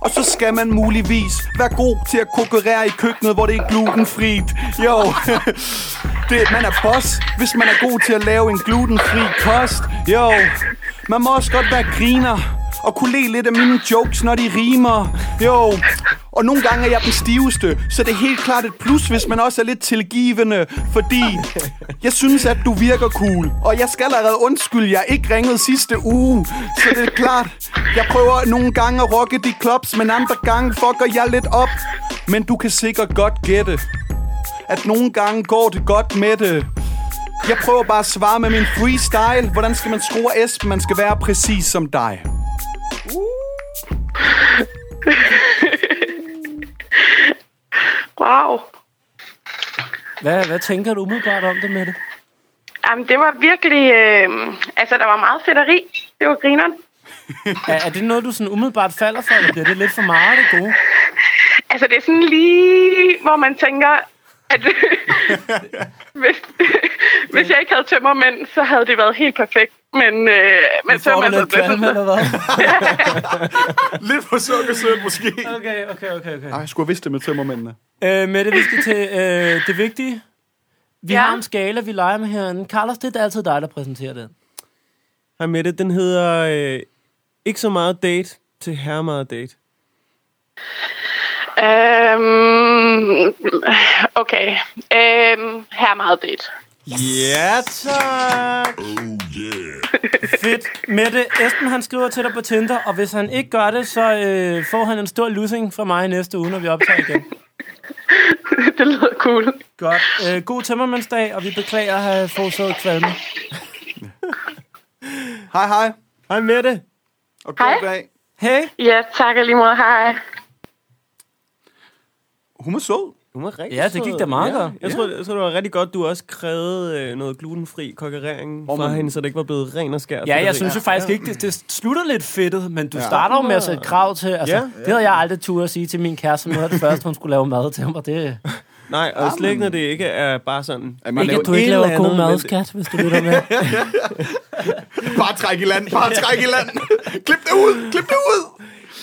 B: Og så skal man muligvis være god til at konkurrere i køkkenet, hvor det er glutenfrit. Jo, det, man er boss, hvis man er god til at lave en glutenfri kost. Jo, man må også godt være griner og kunne le lidt af mine jokes, når de rimer. Jo, og nogle gange er jeg den stiveste, så det er helt klart et plus, hvis man også er lidt tilgivende, fordi jeg synes, at du virker cool, og jeg skal allerede undskylde, jeg ikke ringede sidste uge, så det er klart, jeg prøver nogle gange at rocke de klops, men andre gange fucker jeg lidt op, men du kan sikkert godt gætte, at nogle gange går det godt med det. Jeg prøver bare at svare med min freestyle. Hvordan skal man score Esben? Man skal være præcis som dig.
H: Wow.
A: Hvad, hvad tænker du umiddelbart om det, Mette?
H: Jamen, det var virkelig... Øh, altså, der var meget fedteri. Det var grineren.
A: Er, er det noget, du sådan umiddelbart falder for, eller bliver det lidt for meget af det gode?
H: Altså, det er sådan lige, hvor man tænker, at hvis, hvis jeg ikke havde tømmermænd, så havde det været helt perfekt. Men, øh, men
A: Får du
H: tømmermænd
A: lidt
H: blev
A: kvalme,
H: sådan...
A: eller hvad?
B: Lidt for sukkersødt måske.
A: Okay, okay, okay. okay.
B: Ej, jeg skulle have vidst det med tømmermændene.
A: Øh, Mette, vi skal til øh, det vigtige. Vi ja.
H: Ja.
A: har en skala, vi leger med herinde. Carlos, det er altid dig, der præsenterer den.
C: Hej Mette, den hedder øh, ikke så meget date til her meget date.
H: Øhm, okay. Øhm, her er meget det.
C: Ja tak!
A: Fedt. Mette, Esben han skriver til dig på Tinder, og hvis han ikke gør det, så øh, får han en stor losing fra mig næste uge, når vi optager igen.
H: det lyder cool.
A: Godt. Øh, god tømmermandsdag, og vi beklager at have forårsaget kvalme.
B: Hej, hej.
C: Hej Mette!
B: Og god
H: Hej.
B: dag.
A: Hey.
H: Ja, tak og lige måde. Hej.
B: Hun er sød.
C: Hun var rigtig
A: Ja, det gik da meget godt.
C: Jeg, tror, jeg tror, det var rigtig godt, du også krævede øh, noget glutenfri kokkerering fra
B: man-
C: hende, så det ikke var blevet ren og skær.
A: Ja,
C: fedteri.
A: jeg synes jo faktisk ikke, det, det slutter lidt fedtet, men du starter jo med at sætte krav til, altså,
C: Ja.
A: det havde jeg aldrig tur at sige til min kæreste, men noget af det første, hun skulle lave mad til mig, det
C: Nej, og slet ikke, når det ikke er bare sådan.
B: At man
A: ikke,
B: laver
A: at du ikke
C: et
A: laver
C: eller
A: god
C: andet,
A: mad,
C: men-
A: skat, hvis du lytter med.
B: bare træk i land, bare træk i land. klip det ud, klip det ud.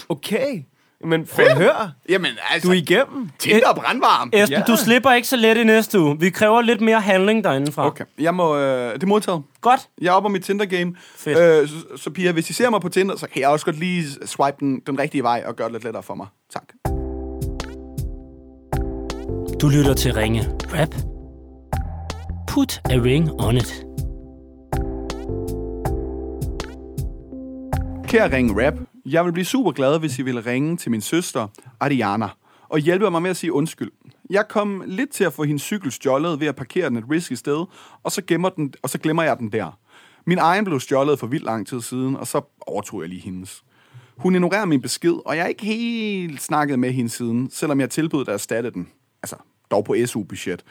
C: Okay, men forhør,
B: Jamen, altså,
C: du er igennem.
B: Tinder er brandvarm.
A: Esben, du slipper ikke så let i næste uge. Vi kræver lidt mere handling derindefra.
B: Okay, jeg må, øh, det er modtaget.
A: Godt.
B: Jeg er oppe på mit Tinder-game.
A: Fedt.
B: Øh, så, så piger, hvis I ser mig på Tinder, så kan jeg også godt lige swipe den, den rigtige vej og gøre det lidt lettere for mig. Tak.
A: Du lytter til Ringe Rap. Put a ring on it.
B: Kære Ring Rap, jeg vil blive super glad, hvis I ville ringe til min søster, Ariana, og hjælpe mig med at sige undskyld. Jeg kom lidt til at få hendes cykel stjålet ved at parkere den et risky sted, og så, gemmer den, og så glemmer jeg den der. Min egen blev stjålet for vildt lang tid siden, og så overtog jeg lige hendes. Hun ignorerer min besked, og jeg har ikke helt snakket med hende siden, selvom jeg tilbød at erstatte den. Altså, dog på SU-budget.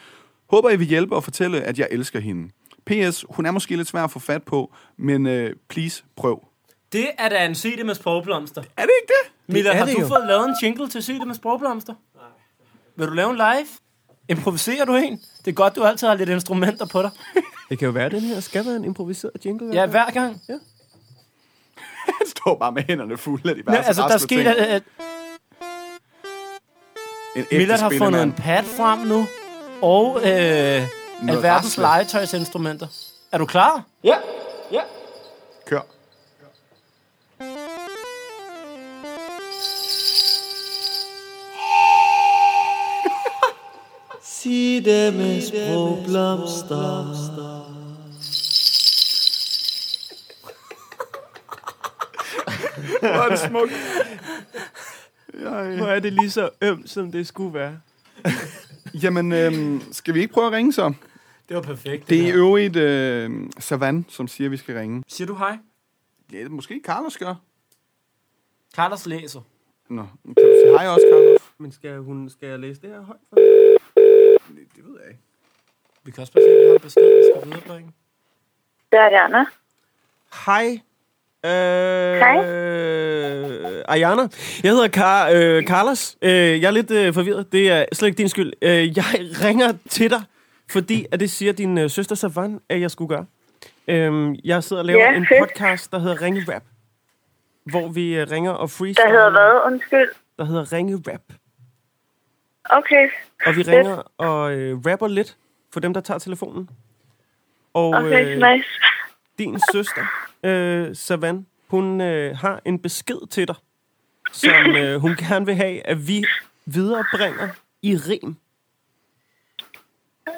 B: Håber, I vil hjælpe og fortælle, at jeg elsker hende. P.S. Hun er måske lidt svær at få fat på, men øh, please prøv.
A: Det er da en CD med sprogblomster.
B: Er det ikke det?
A: Mila,
C: er
A: har
C: det
A: du
C: jo.
A: fået lavet en jingle til CD med sprogblomster? Nej. Vil du lave en live? Improviserer du en? Det er godt, du altid har lidt instrumenter på dig.
C: Det kan jo være, at den her skal være en improviseret jingle.
A: Ja, hver gang.
B: Han står bare med hænderne fulde af de
A: Ja,
B: værste
A: altså, der er
B: rastløse
A: sket,
B: ting.
A: at, at
B: En ægte
A: Millard øh, har fundet
B: spillemand.
A: en pad frem nu, og øh, alverdens
B: rastløst.
A: legetøjsinstrumenter. Er du klar?
B: Kør.
I: Sig dem med sprog blomster.
B: Hvor er det smukt. Jeg,
C: Hvor er det lige så ømt, som det skulle være.
B: jamen, øhm, skal vi ikke prøve at ringe så?
A: Det var perfekt.
B: Det er i øvrigt øh, Savan, som siger, at vi skal ringe.
A: Siger du hej?
B: Ja, måske Carlos gør.
A: Carlos læser.
B: Nå, kan du sige hej også, Carlos?
C: Men skal, hun, skal jeg læse det her højt for?
B: Det ved jeg ikke.
A: Vi kan også bare se, at vi har en besked, vi skal viderebringe.
G: Det er det, Anna.
C: Hej. Øh, Hej. Ayana. Jeg hedder Kar, øh, Carlos. Øh, jeg er lidt øh, forvirret. Det er slet ikke din skyld. Øh, jeg ringer til dig, fordi at det siger din øh, søster Savan, at jeg skulle gøre. Øh, jeg sidder og laver
G: Ja,
C: en
G: fedt.
C: podcast, der hedder Ringe Rap. Hvor vi øh, ringer og freestyle.
G: Der hedder hvad? Undskyld.
C: Der hedder Ringe Rap.
G: Okay.
C: Og vi ringer og øh, rapper lidt for dem, der tager telefonen. Og øh,
G: Okay,
B: øh.
G: nice.
C: din søster, øh, Savan, hun øh, har en besked til dig, som øh, hun gerne vil have, at vi viderebringer i rim.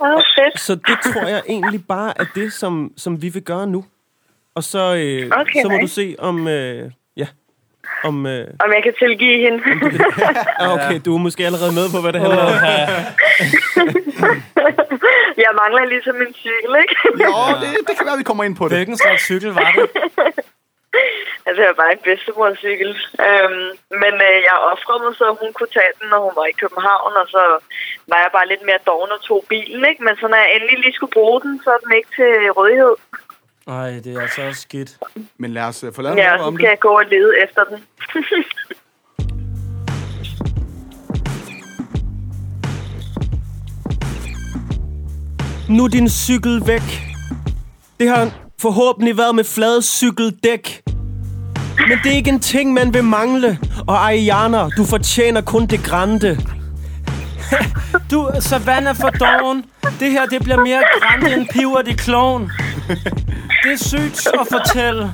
G: Åh, oh, fedt.
C: Så det tror jeg egentlig bare er det, som, som vi vil gøre nu. Og så, øh,
G: Okay,
C: så må
G: nice.
C: du se om... Øh, ja, om... Øh,
G: Om jeg kan tilgive hende.
C: ah, okay, du er måske allerede med på, hvad det handler om.
G: jeg mangler ligesom min cykel, ikke?
B: Jo, det, det kan være, vi kommer ind på det.
A: Hvilken slags cykel var det?
G: altså, jeg var bare en bedstemors cykel. Øhm, men øh, jeg offrede mig, så hun kunne tage den, når hun var i København, og så var jeg bare lidt mere doven og tog bilen, ikke? Men så når jeg endelig lige skulle bruge den, så er den ikke til rådighed.
A: Nej, det er altså også skidt.
B: Men lad os øh, få lavet
G: Ja,
B: ja,
G: så
B: om
G: skal
B: det.
G: jeg gå og lede efter den.
C: Nu er din cykel væk. Det har forhåbentlig været med flade cykeldæk. Men det er ikke en ting, man vil mangle. Og Ariana, du fortjener kun det grande.
A: Du, Savannah for doven. Det her, det bliver mere grænne end piver det kloven. Det er sygt at fortælle,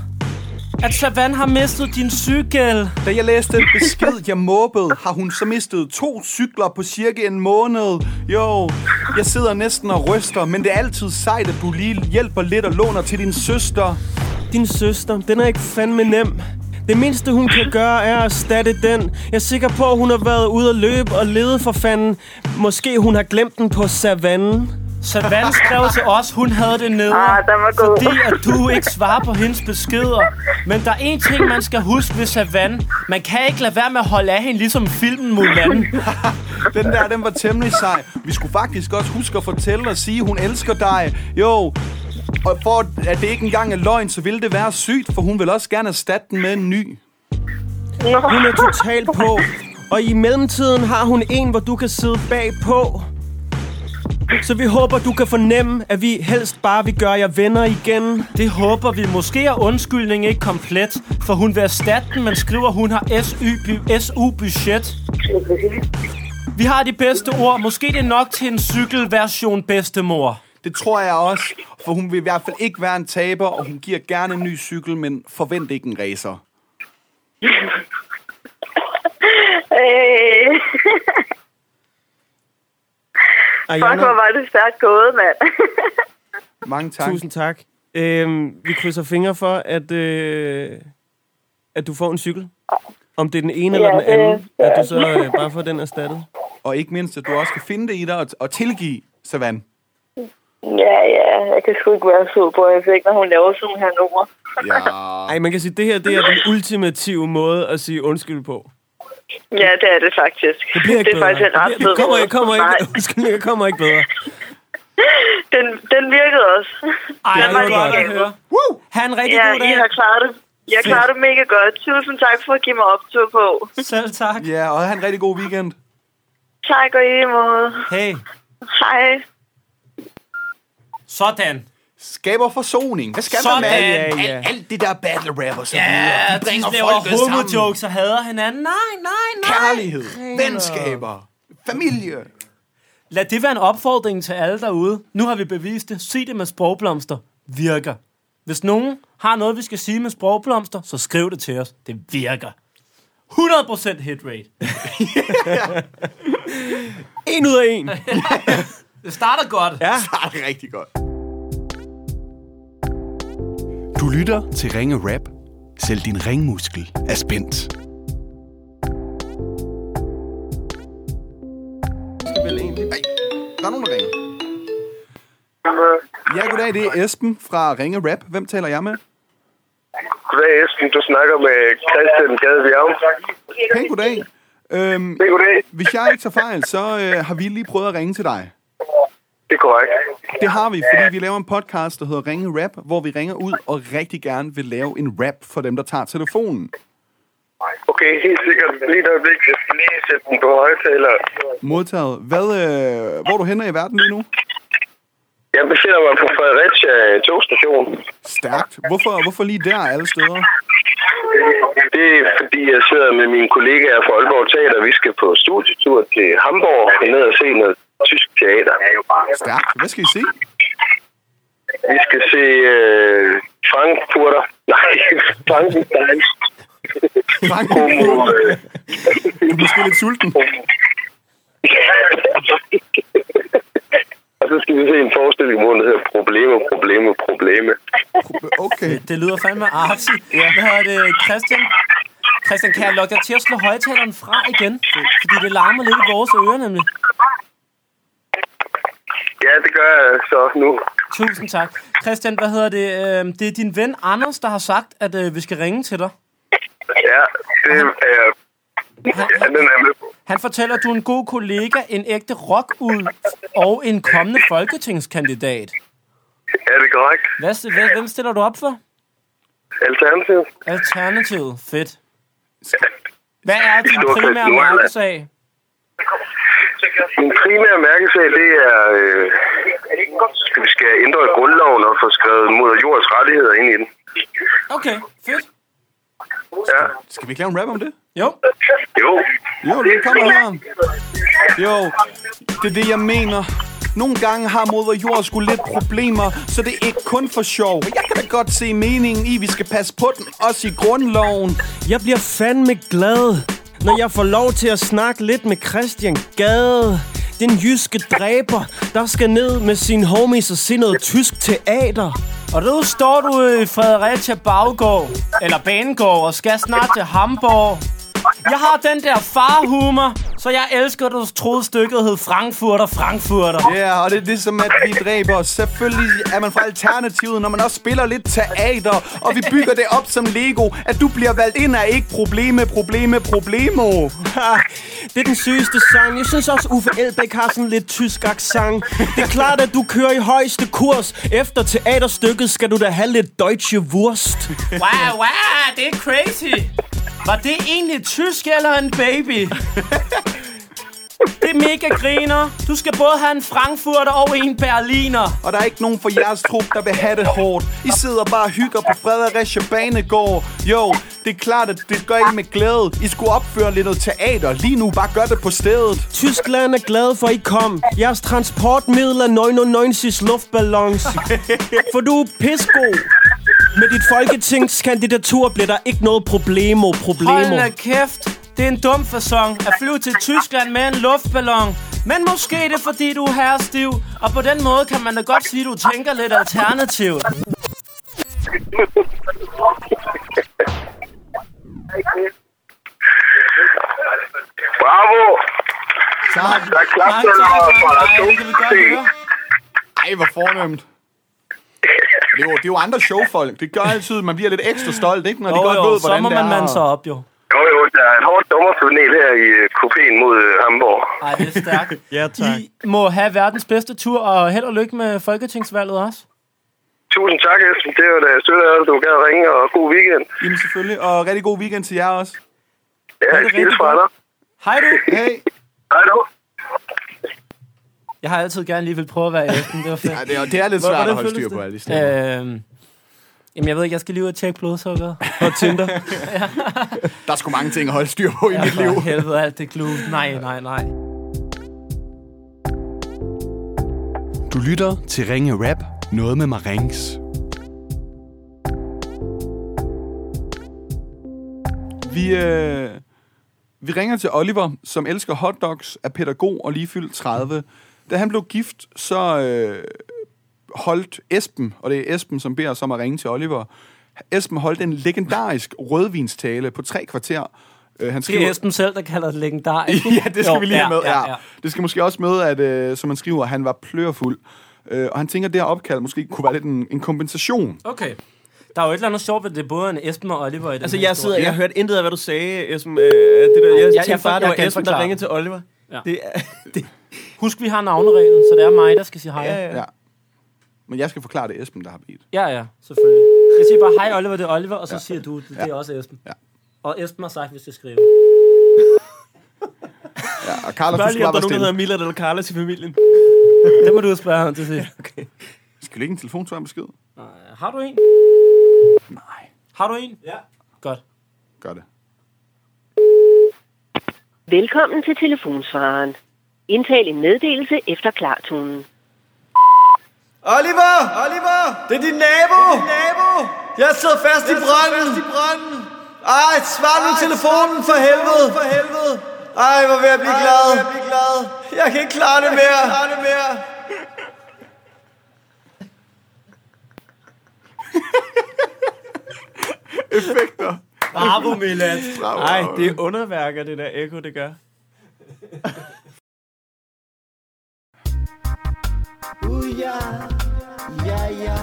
A: at Savannah har mistet din cykel.
B: Da jeg læste den besked, jeg måbede, har hun så mistet to cykler på cirka en måned. Jo, jeg sidder næsten og ryster, men det er altid sejt, at du lige hjælper lidt og låner til din søster.
C: Din søster, den er ikke fandme nem. Det mindste, hun kan gøre, er at erstatte den. Jeg er sikker på, at hun har været ude at løbe og lede for fanden. Måske hun har glemt den på savannen.
A: Savannah skrev til os, hun havde det nede.
G: Ah, den var god.
A: Fordi at du ikke svarer på hendes beskeder. Men der er én ting, man skal huske ved Savannah. Man kan ikke lade være med at holde af hende, ligesom filmen Mulan.
B: Den der, den var temmelig sej. Vi skulle faktisk også huske at fortælle og sige, hun elsker dig. Jo, og for at det ikke engang er løgn, så ville det være sygt, for hun vil også gerne erstatte den med en ny.
C: Hun er totalt på. Og i mellemtiden har hun en, hvor du kan sidde bagpå. Så vi håber, du kan fornemme, at vi helst bare vil gøre jer venner igen.
A: Det håber vi. Måske er undskyldningen ikke komplet, for hun vil erstatte den, men skriver, hun har SY SU-budget. Vi har de bedste ord. Måske det er nok til en cykelversion bedstemor.
B: Det tror jeg også, for hun vil i hvert fald ikke være en taber, og hun giver gerne en ny cykel, men forvent ikke en racer.
G: Øh, fuck,
C: Ariana,
G: hvor var det stærkt gået, mand.
B: Mange tak.
C: tusind tak. Øhm, vi krydser fingre for, at, øh, at du får en cykel. Om det er den ene eller
G: Ja,
C: den anden,
G: det-
C: at du så øh, bare får den erstattet.
B: Og ikke mindst, at du også kan finde det i dig og, og tilgive, Savan.
G: ja, ja, jeg kan sgu ikke være sur på, jeg fik, når hun laver sådan her nummer.
B: Ja.
C: Ej, man kan sige, at det her det er den ultimative måde at sige undskyld på.
G: Ja, det er det faktisk.
C: Det bliver ikke
G: det er
C: bedre.
G: faktisk en ret
C: det, bliver- det kommer, ikke- kommer
G: Nej,
C: ikke, undskyld, det kommer ikke bedre.
G: den, den virkede også.
A: Ej,
G: Den
A: det
G: var
A: var
G: lige
A: godt at
G: galt.
A: høre. Ha' en rigtig
G: Ja,
A: god
G: I
A: dag.
G: har klaret det. Jeg klarer det mega godt. Tusind tak for at give mig optur på.
A: Selv tak.
B: ja, og have en rigtig god weekend.
G: Tak og i lige måde.
A: Hey.
J: Hej.
A: Sådan.
B: Skaber forsoning. Hvad skal man med
A: Sådan,
B: alt,
C: ja.
B: alt, alt det der battle rap og så videre?
A: Ja,
B: De
A: de
B: bringer
A: laver
B: folket sammen.
A: homo-jokes og hader hinanden. Nej, nej, nej.
B: Kærlighed, venskaber, familie.
A: Lad det være en opfordring til alle derude. Nu har vi bevist det. Sig det med sprogblomster. Virker. Hvis nogen har noget, vi skal sige med sprogblomster, så skriv det til os. Det virker. 100% hit rate.
C: En ud af en.
A: Det starter godt. Ja.
B: Ja, det er Ah, rigtig godt. Du lytter til Ringe Rap. Selv din ringmuskel er spændt. Ej, der er nogen, der ringer. Ja, goddag, det er Esben fra Ringe Rap. Hvem taler jeg med?
K: Goddag Esben, du snakker med Christian Gade Bjerg.
B: Pæn goddag. Øhm,
K: Det er goddag.
B: hvis jeg ikke tager fejl, så øh, har vi lige prøvet at ringe til dig.
K: Det er korrekt.
B: Det har vi, fordi vi laver en podcast, der hedder Ringe Rap, hvor vi ringer ud og rigtig gerne vil lave en rap for dem, der tager telefonen.
K: Okay, helt sikkert. Lige et øjeblik. Jeg skal lige sætte den på højtaler.
B: Modtaget. Hvad, øh, hvor er du henne i verden lige nu?
K: Jeg befinder mig på Fredericia øh, togstation.
B: Stærkt. Hvorfor, hvorfor lige der alle steder?
K: Det er fordi, jeg sidder med mine kollegaer fra Aalborg Teater. Vi skal på studietur til Hamburg og ned og se noget tysk teater.
B: Stærkt. Hvad skal I se?
K: Vi skal se øh, Frankfurter. Nej, Frankenstein.
B: Frank,
K: Homo, øh.
B: du er måske lidt sulten.
K: og så skal vi se en forestilling, hvor der hedder Probleme, Probleme, Probleme.
B: Okay.
A: Det lyder fandme artsy. Ja. Hvad hedder det, Christian? Christian, kan jeg lukke dig til at slå højtaleren fra igen? Fordi det larmer lidt i vores ører nemlig.
K: Ja, det gør jeg så nu.
A: Tusind tak. Christian, hvad hedder det? øhm, Det er din ven Anders, der har sagt, at øh, vi skal ringe til dig.
K: Ja, det er... Ja, den er jeg med på.
A: Han fortæller, at du er en god kollega, en ægte rockud og en kommende folketingskandidat.
K: Ja, det er korrekt.
A: Hvad, s- hvad, hvem stiller du op for?
K: Alternativ.
A: Alternativet. Fedt. Hvad er din
K: Stort
A: primære
K: festival.
A: mærkesag?
K: Min primære mærkesag, det er, øh, at vi skal ændre grundloven og få skrevet mod jords rettigheder ind i den.
A: Okay, fedt.
K: Ja.
B: Skal vi ikke lave en rap om det?
A: Jo,
K: Jo.
B: Jo, det kommer her. Jo, det er det, jeg mener. Nogle gange har moder jord sgu lidt problemer, så det er ikke kun for sjov. Men jeg kan da godt se meningen i, at vi skal passe på den, også i grundloven.
C: Jeg bliver fandme glad, når jeg får lov til at snakke lidt med Christian Gade. Den jyske dræber, der skal ned med sin homies og se noget tysk teater.
A: og nu står du
C: øh,
A: i Fredericia Baggård, eller Banegård, og skal snart til Hamburg. Jeg har den der farhumor, så jeg elsker, at du troede stykket hed Frankfurter, Frankfurter.
B: Ja, yeah, og det er det som, at vi dræber. Selvfølgelig er man fra Alternativet, når man også spiller lidt teater. Og vi bygger det op som Lego. At du bliver valgt ind er ikke probleme, probleme, problemo.
C: Ha, det er den sygeste sang. Jeg synes også, Uffe Elbæk har sådan lidt tysk accent. Det er klart, at du kører i højeste kurs. Efter teaterstykket skal du da have lidt deutsche Wurst.
A: Wow, wow, det er crazy. Var det egentlig tysk eller en baby? Det er mega griner. Du skal både have en Frankfurter og en Berliner.
B: Og der er ikke nogen fra jeres trup, der vil have det hårdt. I sidder bare og hygger på Fredericia Banegård. Jo, det er klart, at det gør I med glæde. I skulle opføre lidt noget teater. Lige nu bare gør det på stedet.
C: Tyskland er glad for, at I kom. Jeres transportmiddel er 990's luftballons. For du er pissegod. Med dit folketingskandidatur bliver der ikke noget problemo,
A: Hold
C: problemo.
A: da kæft. Det er en dum façon at flyve til Tyskland med en luftballon. Men måske er det fordi, du er herrestiv. Og på den måde kan man da godt sige, at du tænker lidt alternativt.
K: Bravo!
B: Tak.
K: Der er klap
A: Mange tak. Ej, det kan vi godt høre.
B: Ej, hvor fornemt. Det er, jo, det er jo andre showfolk. Det gør altid, at man bliver lidt ekstra stolt, ikke? Når de
A: Jo,
B: godt
A: jo,
B: ved,
A: så
B: hvordan
A: må
B: det
A: man
B: er.
A: mande sig op, jo.
K: Jo, jo, der er et hårdt dommerpanel her i øh, kupéen mod øh, Hamburg.
A: Ej, det er stærkt.
C: Ja, tak.
A: I må have verdens bedste tur, og held og lykke med Folketingsvalget også.
K: Tusind tak, Esben. Det var da sødt af dig, at du gad ringe, og god weekend.
B: Jamen selvfølgelig, og rigtig god weekend til jer også.
K: Ja,
A: det
K: jeg
A: rigtig
K: skilles fra
A: godt.
K: dig.
A: Hej du.
B: Hej.
K: Hej du.
A: Jeg har altid gerne lige vil prøve at være æsten. Det var fedt.
B: Ja, det, er, det er lidt
C: Hvor-
B: svært at
C: hvordan
B: holde
C: føles
B: styr på
C: det?
B: alle de stemmer.
A: Øhm, jamen, jeg ved ikke, jeg skal lige ud og tjekke blodsukkeret.
C: Og Tinder.
B: Der er sgu mange ting at holde styr på i
A: Ja,
B: mit liv.
A: for helvede, alt det glue. Nej, nej, nej.
B: Du lytter til Ringe Rap. Noget med Marings. Vi, øh, vi ringer til Oliver, som elsker hotdogs, er pædagog og lige fyldt 30. Da han blev gift, så øh, holdt Esben, og det er Esben, som beder os om at ringe til Oliver. Esben holdt en legendarisk rødvinstale på tre kvarter. Øh, han
A: Det er Esben selv, der kalder det legendarisk.
B: ja, det skal
A: Jo,
B: vi lige have med. Ja,
A: ja, ja.
B: Det skal måske også med, at øh, som man skriver, at han var plørfuld. Øh, og han tænker, at det her opkald måske kunne være lidt en, en kompensation.
A: Okay. Der er jo et eller andet sjovt ved, at det er både en Esben og Oliver i den
C: Altså,
A: her
C: jeg sidder,
A: historie.
C: jeg hørte intet af, hvad du sagde, Esben. Øh, det der, jeg, jeg tænkte
A: jeg
C: bare, det
A: kan
C: var
A: ikke
C: Esben, der
A: forklare.
C: ringede til Oliver.
A: Ja.
C: Det er, det,
A: Husk, vi har navnereglen, så det er mig, der skal sige hej.
C: ja, ja.
B: Ja. Men jeg skal forklare, det er Esben, der har bedt.
A: ja, ja selvfølgelig. Jeg siger bare, hej Oliver, det er Oliver, og så ja. siger du, det, det er også Esben.
B: Ja.
A: Og Esben har sagt, vi skal skrive.
B: Ja, og Carlos,
C: Bare
B: du skal
C: lige, om
B: bare
C: der
B: være
C: er nogen, der
B: stille.
C: hedder Mila eller Carla til familien.
A: Det må du spørge ham til sidst.
B: Skal vi lægge en telefon til ham besked?
A: Har du en?
B: Nej.
A: Har du en? Ja. Godt.
B: Gør det.
E: Velkommen til telefonsvaren. Indtal en meddelelse efter klartonen.
I: Oliver! Oliver! Det er din nabo! Det er din nabo! Jeg sidder fast i branden! Fast i branden! Ej, svar nu telefonen for helvede! For helvede! Ej, hvor vil jeg blive glad! Jeg, blive glad. jeg kan ikke klare det mere! Jeg kan ikke klare det mere!
A: Bravo, Milan.
C: Nej, det er underværker, det der ekko, det gør.
I: Uh, ja, ja, ja.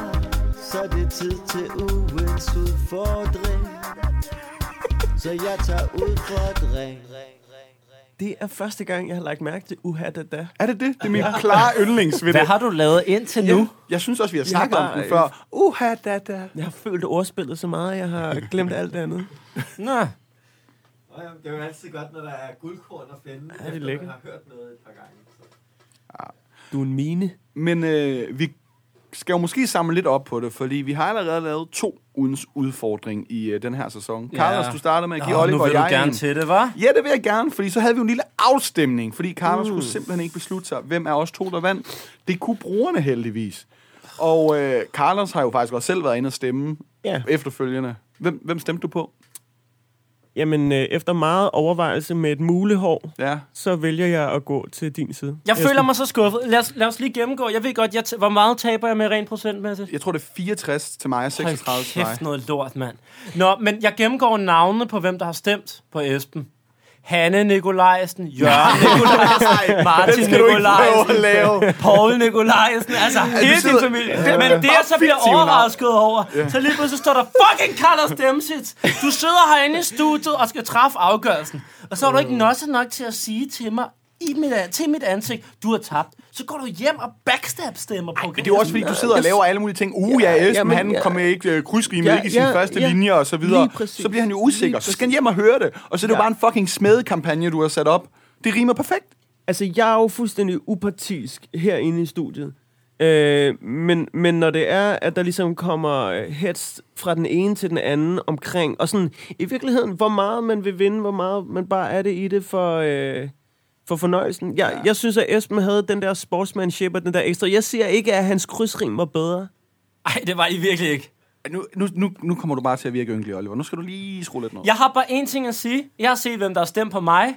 I: Så er det tid til ugens udfordring. Så jeg tager udfordring.
C: Det er første gang, jeg har lagt mærke til uha da da.
B: Er det det? Det er min klare yndlings ved
A: Hvad
B: det.
A: har du lavet indtil nu?
B: Jeg synes også, vi har
C: har
B: snakket om
C: bare-
B: den før. Uha, da, da.
C: Jeg har følt ordspillet så meget, jeg har glemt alt det andet.
A: Nå,
I: Det er jo altid godt, når der er guldkorn at finde,
C: er efter lækkert. man
I: har hørt noget et par gange.
C: Du er en mine.
B: Men øh, vi skal jo måske samle lidt op på det, fordi vi har allerede lavet to ugens udfordring i øh, den her sæson.
A: Ja.
B: Carlos, du starter med at give
A: Nå,
B: Oliver
A: nu vil
B: og jeg
A: du gerne
B: en.
A: til det, var?
B: Ja, det vil jeg gerne, fordi så havde vi jo en lille afstemning, fordi Karma
A: Uh.
B: mm. skulle simpelthen ikke beslutte sig, hvem af os to, der vandt. Det kunne brugerne heldigvis. Og øh, Carlos har jo faktisk også selv været inde og stemme
C: Ja.
B: efterfølgende. Hvem, hvem stemte du på?
C: Jamen, øh, efter meget overvejelse med et mulehår,
B: Ja.
C: så vælger jeg at gå til din side.
A: Jeg
C: Esben.
A: føler mig så skuffet. Lad os, lad os lige gennemgå. Jeg ved godt, jeg t- hvor meget taber jeg med rent procentmæssigt?
B: Jeg tror, det er 64 til mig og 36 til
A: Hold
B: dig.
A: kæft noget lort, mand. Nå, men jeg gennemgår navnene på, hvem der har stemt på Esben. Hanne Nikolajsen, Jørgen Nikolajsen, Martin
B: Den skal du ikke prøve
A: Nikolajsen,
B: at lave.
A: Paul Nikolajsen, altså hele din
B: sidder-
A: familie.
B: Ja,
A: Men
B: ja.
A: det, jeg så bliver
B: Fiktive navn.
A: overrasket over, så lige pludselig står der fucking Carlos Demsits. Du sidder herinde i studiet og skal træffe afgørelsen. Og så er du ikke nosset nok til at sige til mig, i mit, an- til mit ansigt, du har tabt. Så går du hjem og backstab-stemmer på
B: Men det er jo også, fordi du sidder og laver alle mulige ting. Uh, ja, Esben,
C: jamen,
B: han
C: ja.
B: kom ikke øh, krydsrime,
C: Ja,
B: ikke i sin
C: ja,
B: første
C: ja.
B: linje og så videre.
C: Lige præcis.
B: Så bliver han jo usikker. Så skal han hjem og høre det. Og så er det jo bare en fucking smedekampagne, du har sat op. Det rimer perfekt.
C: Altså, jeg er jo fuldstændig upartisk herinde i studiet. Øh, men, men når det er, at der ligesom kommer øh, hets fra den ene til den anden omkring, og sådan i virkeligheden, hvor meget man vil vinde, hvor meget man bare er det i det for, øh, for fornøjelsen. Jeg, jeg synes, at Esben havde den der sportsmanship og den der ekstra. Jeg siger ikke, at hans krydsrim var bedre.
A: Nej, det var I virkelig ikke.
B: Nu, nu, nu, nu kommer du bare til at virke ynkelig, Oliver. Nu skal du lige skrue lidt ned.
A: Jeg har bare en ting at sige. Jeg har set, hvem der har stemt på mig.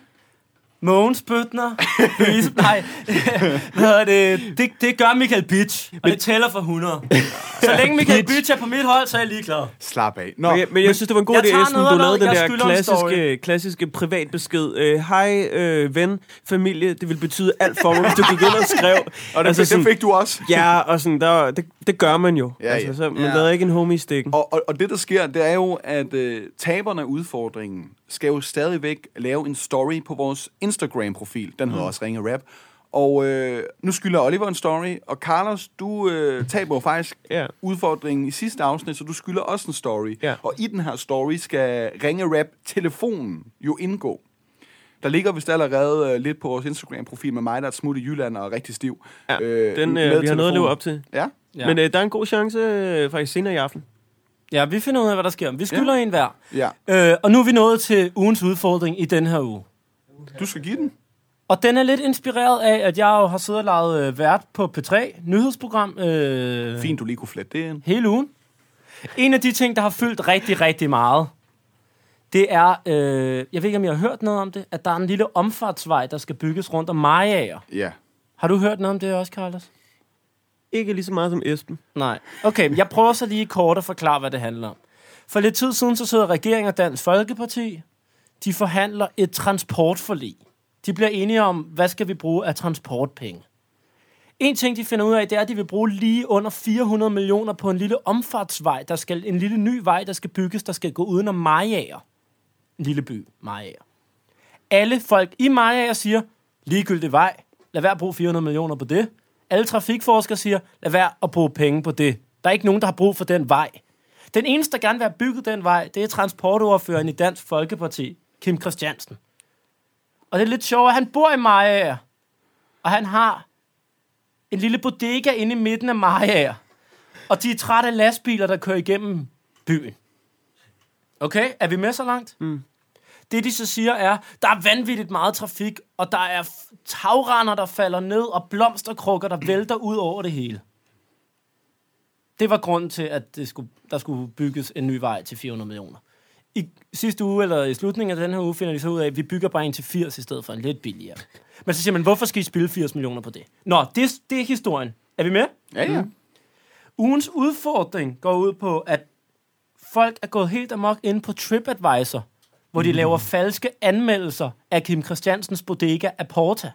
A: Mogens Bøtner, Louise, nej, hvad hedder det, det, det gør Michael Bitch, og det tæller for 100. Så længe Michael Bitch er på mit hold, så er jeg ligeglad.
B: Slap af. Nå,
C: Men jeg, men jeg synes, det var en god
A: jeg
C: idé,
A: tager
C: Esben, du lavede
A: nederlaget.
C: den
A: Jeg
C: der
A: skylder en story.
C: klassiske, klassiske privatbesked. Øh, Hej, øh, ven, familie, det ville betyde alt for mig, hvis du gik ind og skrev.
B: og det, altså, det fik du også.
C: Ja, og sådan, der, det, det gør man jo.
B: Ja,
C: Ja,
B: ja.
C: altså, så, man
B: Ja.
C: ja. lader ikke en homie i stikken.
B: Og, og, og det, der sker, det er jo, at øh, taberne af udfordringen skal jo stadigvæk lave en story på vores Instagram-profil. Den
C: Mm.
B: hedder også Ringe Rap. Og øh, nu skylder Oliver en story, og Carlos, du øh, taber jo faktisk
C: Ja.
B: udfordringen i sidste afsnit, så du skylder også en story.
C: Ja.
B: Og i den her story skal Ringe Rap-telefonen jo indgå. Der ligger vist allerede øh, lidt på vores Instagram-profil med mig, der er et smut i Jylland og er rigtig stiv.
C: Ja, den, øh, vi har noget at leve op til.
B: Ja.
A: Ja.
C: Men øh, der er en god chance øh, faktisk senere i aften.
A: Ja, vi finder ud af, hvad der sker. Vi skylder ja. en hver.
B: ja.
A: Øh, og nu er vi nået til ugens udfordring i den her uge.
B: Du skal give den.
A: Og den er lidt inspireret af, at jeg jo har siddet og lavet øh, vært på P3, nyhedsprogram, øh,
B: Fint, du lige kunne flette det ind.
A: hele ugen. En af de ting, der har fyldt rigtig, rigtig meget, det er, øh, jeg ved ikke, om I har hørt noget om det, at der er en lille omfartsvej, der skal bygges rundt om Mariager.
B: Ja.
A: Har du hørt noget om det også, Carlos?
C: Ikke lige så meget som Esben.
A: Nej. Okay, men jeg prøver så lige kort at forklare, hvad det handler om. For lidt tid siden, så sidder regeringen og Dansk Folkeparti, de forhandler et transportforlig. De bliver enige om, hvad skal vi bruge af transportpenge. En ting, de finder ud af, det er, at de vil bruge lige under 400 millioner på en lille omfartsvej, der skal, en lille ny vej, der skal bygges, der skal gå udenom Mariager. En lille by, Mariager. Alle folk i Mariager siger, ligegyldig vej, lad være at bruge 400 millioner på det. Alle trafikforskere siger, lad være at bruge penge på det. Der er ikke nogen, der har brug for den vej. Den eneste, der gerne vil have bygget den vej, det er transportoverføreren i Dansk Folkeparti, Kim Christiansen. Og det er lidt sjovt, at han bor i Mariager, og han har en lille bodega inde i midten af Mariager. Og de er trætte af lastbiler, der kører igennem byen. Okay, er vi med så langt? Det, de så siger, er, der er vanvittigt meget trafik, og der er f- tagrender, der falder ned, og blomsterkrukker, der vælter ud over det hele. Det var grunden til, at det skulle, der skulle bygges en ny vej til 400 millioner. I sidste uge, eller i slutningen af den her uge, finder de så ud af, at vi bygger bare en til 80 i stedet for en lidt billigere. Men så siger man, hvorfor skal I spille 80 millioner på det? Nå, det, det er historien. Er vi med? Mm.
B: Ja, ja.
A: Ugens udfordring går ud på, at folk er gået helt amok inde på TripAdvisor, hvor de laver falske anmeldelser af Kim Christiansens bodega Aporta.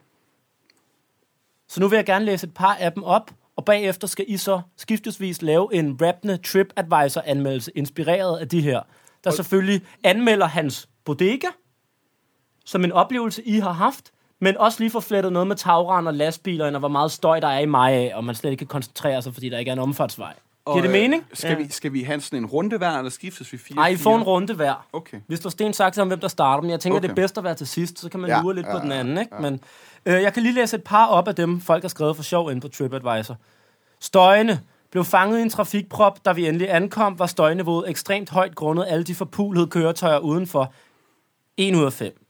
A: Så nu vil jeg gerne læse et par af dem op, og bagefter skal I så skiftesvis lave en rappende TripAdvisor-anmeldelse, inspireret af de her, der selvfølgelig anmelder hans bodega, som en oplevelse, I har haft, men også lige forflettet noget med tagrand og lastbiler, og hvor meget støj der er i mig af, og man slet ikke kan koncentrere sig, fordi der ikke er en omfartsvej.
B: Og,
A: Giver det
B: øh,
A: mening?
B: Skal, vi, skal vi have sådan en runde hver, eller skiftes vi fire?
A: Nej, I får
B: fire?
A: en runde hver.
B: Okay.
A: Vi står sten sagt om, hvem der starter, men jeg tænker, okay.
B: Okay.
A: det er bedst at være til sidst, så kan man ja,
B: Ja,
A: lure lidt ja,
B: ja,
A: på den anden. Ikke? Ja. Men, øh, jeg kan lige læse et par op af dem, folk har skrevet for sjov ind på TripAdvisor. Støjene blev fanget i en trafikprop, da vi endelig ankom, var støjniveauet ekstremt højt grundet alle de forpulede køretøjer udenfor. 1 ud af 5.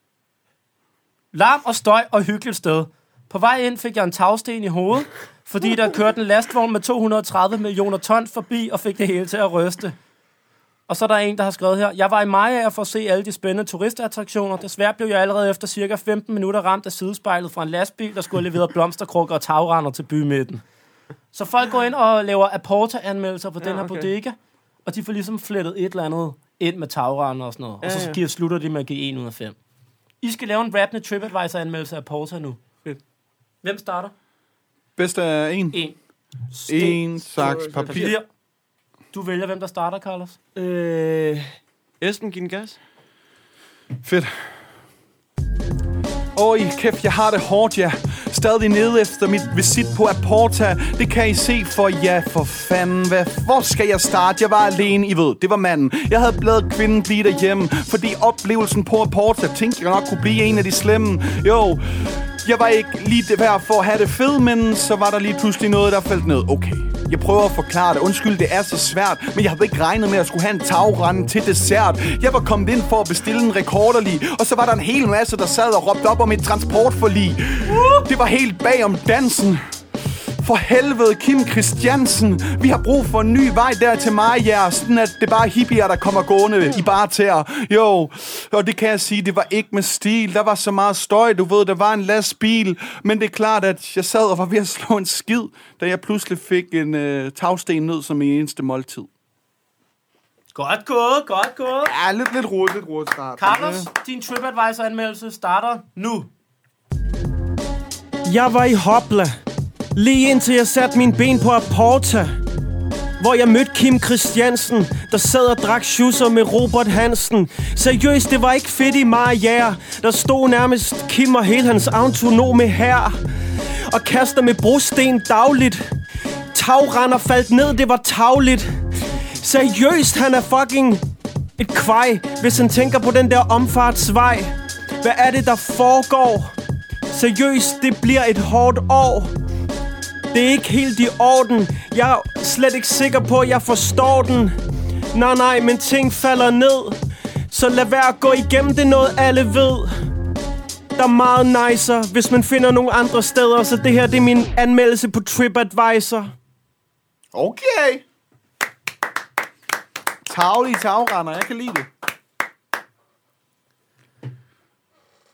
A: Larm og støj og hyggeligt sted. På vej ind fik jeg en tagsten i hovedet, fordi der kørte en lastvogn med 230 millioner tons forbi og fik det hele til at ryste. Og så er der en, der har skrevet her. Jeg var i Maja for at se alle de spændende turistattraktioner. Desværre blev jeg allerede efter cirka 15 minutter ramt af sidespejlet fra en lastbil, der skulle levere blomsterkrukker og tagrender til bymidten. Så folk går ind og laver apporta-anmeldelser på ja, den her
C: okay.
A: bodega, og de får ligesom flettet et eller andet ind med tagrender og sådan noget. Ja, og så
C: Ja, ja.
A: giver, slutter de med at give 1 ud af 5. I skal lave en rappende TripAdvisor-anmeldelse af Porta nu.
C: Fedt.
A: Hvem starter?
B: Bedst af en.
A: En.
B: En saks papir.
A: Papir. Du vælger, hvem der starter, Carlos.
C: Øh, Esben, giv den gas.
B: Fedt. Åh, I kæft, jeg har det hårdt, ja. Stadig nede efter mit visit på Aporta. Det kan I se for, ja, for fanden. Hvad, hvor skal jeg starte? Jeg var alene, I ved. Det var manden. Jeg havde lavet kvinden blive derhjemme, fordi oplevelsen på Aporta tænkte jeg nok kunne blive en af de slemme. Jo, jeg var ikke lige det værd for at have det fedt, men så var der lige pludselig noget, der faldt ned. Okay, jeg prøver at forklare det. Undskyld, det er så svært, men jeg havde ikke regnet med at skulle have en tagrende til dessert. Jeg var kommet ind for at bestille en rekorderlig, og så var der en hel masse, der sad og råbte op om et transportforlig. Det var helt bag om dansen. For helvede, Kim Christiansen. Vi har brug for en ny vej der til mig, ja. Sådan at det bare er hippier, der kommer gående i bare tæer. Jo, og det kan jeg sige, det var ikke med stil. Der var så meget støj, du ved, der var en lastbil. Men det er klart, at jeg sad og var ved at slå en skid, da jeg pludselig fik en øh, tagsten ned som min eneste måltid.
A: Godt gået, godt gået.
B: Ja, lidt, lidt rodet, lidt rodet start.
A: Carlos, din TripAdvisor-anmeldelse starter nu.
C: Jeg var i Hopla, lige indtil jeg satte mine ben på Aporta, hvor jeg mødte Kim Christiansen, der sad og drak schusser med Robert Hansen. Seriøst, det var ikke fedt i Mariager. Der stod nærmest Kim og hele hans autonome her og kaster med brosten dagligt. Tagrender faldt ned, det var tagligt. Seriøst, han er fucking et kvej, hvis han tænker på den der omfartsvej. Hvad er det, der foregår? Seriøst, det bliver et hårdt år. Det er ikke helt i orden. Jeg er slet ikke sikker på, at jeg forstår den. Nej, nej, men ting falder ned. Så lad være at gå igennem det noget, alle ved. Der er meget nicer, hvis man finder nogle andre steder. Så det her, det er min anmeldelse på TripAdvisor.
B: Okay. Tavlige tagrender, jeg kan lide det.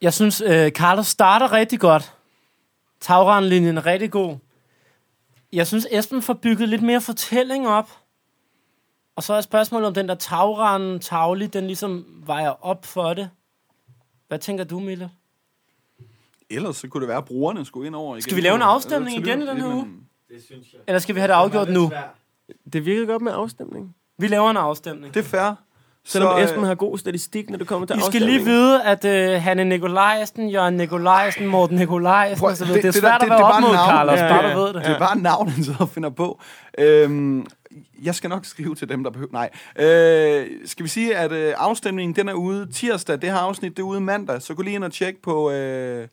A: Jeg synes, øh, Carlos starter rigtig godt. Tagrandlinjen er rigtig god. Jeg synes, Esben får bygget lidt mere fortælling op. Og så er spørgsmålet, om den der tagrende tavlig, den ligesom vejer op for det. Hvad tænker du, Mille?
B: Ellers så kunne det være, at brugerne skulle ind over igen.
A: Skal vi lave en afstemning igen i den her uge? Eller skal vi have det afgjort nu?
C: Det virkede godt med afstemning.
A: Vi laver en afstemning.
B: Det er fair.
C: Selvom
B: øh,
C: Esben har god statistik, når det kommer til
A: I skal
C: afstemning.
A: lige vide, at øh, Hanne Nikolajsen, Jørgen Nikolajsen, Morten Nikolajsen
B: Prøv,
A: osv. Det, det er svært at være
B: det er
A: op
B: bare
A: mod,
B: navn.
A: Carlos,
C: Ja,
A: bare
C: ja.
A: du ved det.
B: Det er bare navn, han sidder og finder på. Øhm, jeg skal nok skrive til dem, der behøver... Nej. Øh, skal vi sige, at øh, afstemningen den er ude tirsdag. Det her afsnit det er ude mandag. Så gå lige ind og tjek på øh,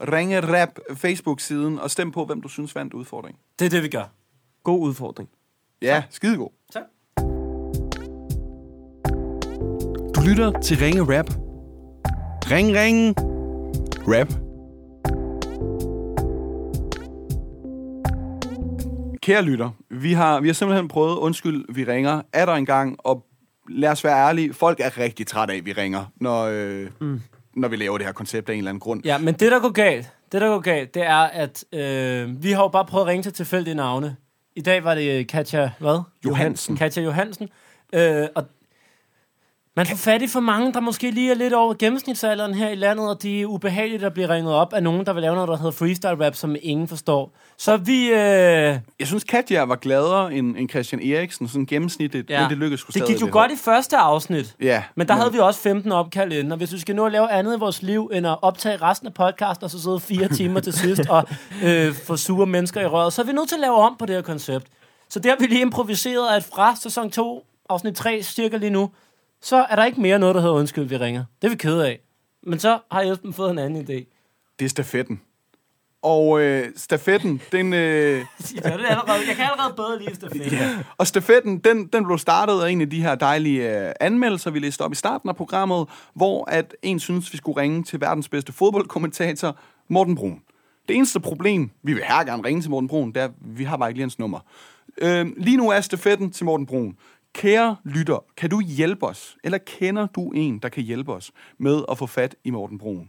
B: Ringe Rap Facebook-siden og stem på, hvem du synes vandt udfordringen.
A: Det er det, vi gør.
C: God udfordring.
B: Ja, skidegod.
L: Du lytter til Ringe Rap. Ring, ring. Rap.
B: Kære lytter, vi har, vi har simpelthen prøvet, undskyld, vi ringer, er der engang, og lad os være ærlige, folk er rigtig trætte af, at vi ringer, når, øh, mm. når vi laver det her koncept af en eller anden grund.
A: Ja, men det, der går galt, det, der går galt, det er, at øh, vi har jo bare prøvet at ringe til tilfældige navne. I dag var det øh, Katja, hvad?
B: Johansen.
A: Katja Johansen. Øh, og man får fat i for mange, der måske lige er lidt over gennemsnitsalderen her i landet, og det er ubehageligt at blive ringet op af nogen, der vil lave noget, der hedder freestyle rap, som ingen forstår. Så vi... Øh,
B: Jeg synes, Katja var gladere end, end Christian Eriksen, sådan gennemsnitligt, ja. men det lykkedes sgu
A: Det
B: stadig
A: gik jo
B: lidt
A: godt i første afsnit.
B: Ja,
A: Men der havde vi også 15 opkald inden, og hvis vi skal nå at lave andet i vores liv, end at optage resten af podcasten, og så sidde fire timer til sidst og øh, få sure mennesker i røret, så er vi nødt til at lave om på det her koncept. Så det har vi lige improviseret, at fra sæson 2, afsnit 3, cirka lige nu, så er der ikke mere noget, der hedder undskyld, vi ringer. Det er vi kede af. Men så har Esben fået en anden idé.
B: Det er stafetten. Og øh, stafetten, den... Øh,
A: Jeg, det allerede, jeg kan allerede bedre lige stafetten. Yeah.
B: Og stafetten, den, den blev startet af en af de her dejlige øh, anmeldelser, vi læste op i starten af programmet, hvor at en synes, vi skulle ringe til verdens bedste fodboldkommentator, Morten Brun. Det eneste problem, vi vil her gerne ringe til Morten Brun, det er, at vi har bare ikke lige hans nummer. Øh, lige nu er stafetten til Morten Brun. Kære lytter, kan du hjælpe os, eller kender du en, der kan hjælpe os med at få fat i Morten Brun?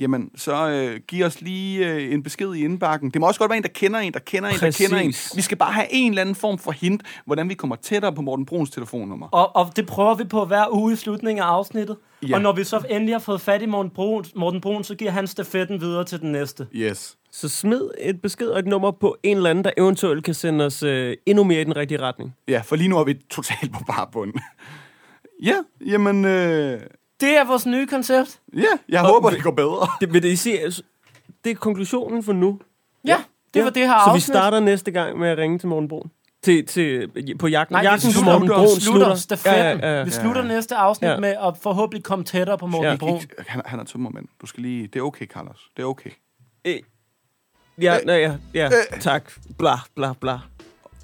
B: Jamen, så øh, giv os lige øh, en besked i indbakken. Det må også godt være en, der kender en, der kender en, der kender en.
C: Præcis.
B: Vi skal bare have en eller anden form for hint, hvordan vi kommer tættere på Morten Bruns telefonnummer.
A: Og, og det prøver vi på hver uge i slutningen af afsnittet.
B: Ja.
A: Ja. Og når vi så endelig har fået fat i Morten Brun, Morten Brun, så giver han stafetten videre til den næste.
B: Yes.
C: Så smid et besked og et nummer på en eller anden, der eventuelt kan sende os øh, endnu mere i den rigtige retning.
B: Ja, for lige nu er vi totalt på bare bund. ja, jamen, øh,
A: Det er vores nye koncept.
B: ja, jeg håber, det går bedre.
C: Det, vil det, I se, altså, det er konklusionen for nu.
A: Ja, det var det her
C: Så vi
A: afsnit.
C: starter næste gang med at ringe til Morten Brun. Til, til, på jagten.
A: Nej, vi
C: jagten på
A: slutter,
C: Morten Brun
A: slutter,
C: slutter.
A: slutter stafetten. Ja, ja, ja. Vi slutter næste afsnit
C: Ja.
A: ja. med at forhåbentlig komme tættere på Morten
C: Ja.
A: ja. Brun.
B: Ikke- Han, han er tømmermand. Du skal lige... Det er okay, Carlos. Det er okay.
C: Øh, ja, nej, ja, ja,
A: Øh.
C: tak. Bla, bla, bla.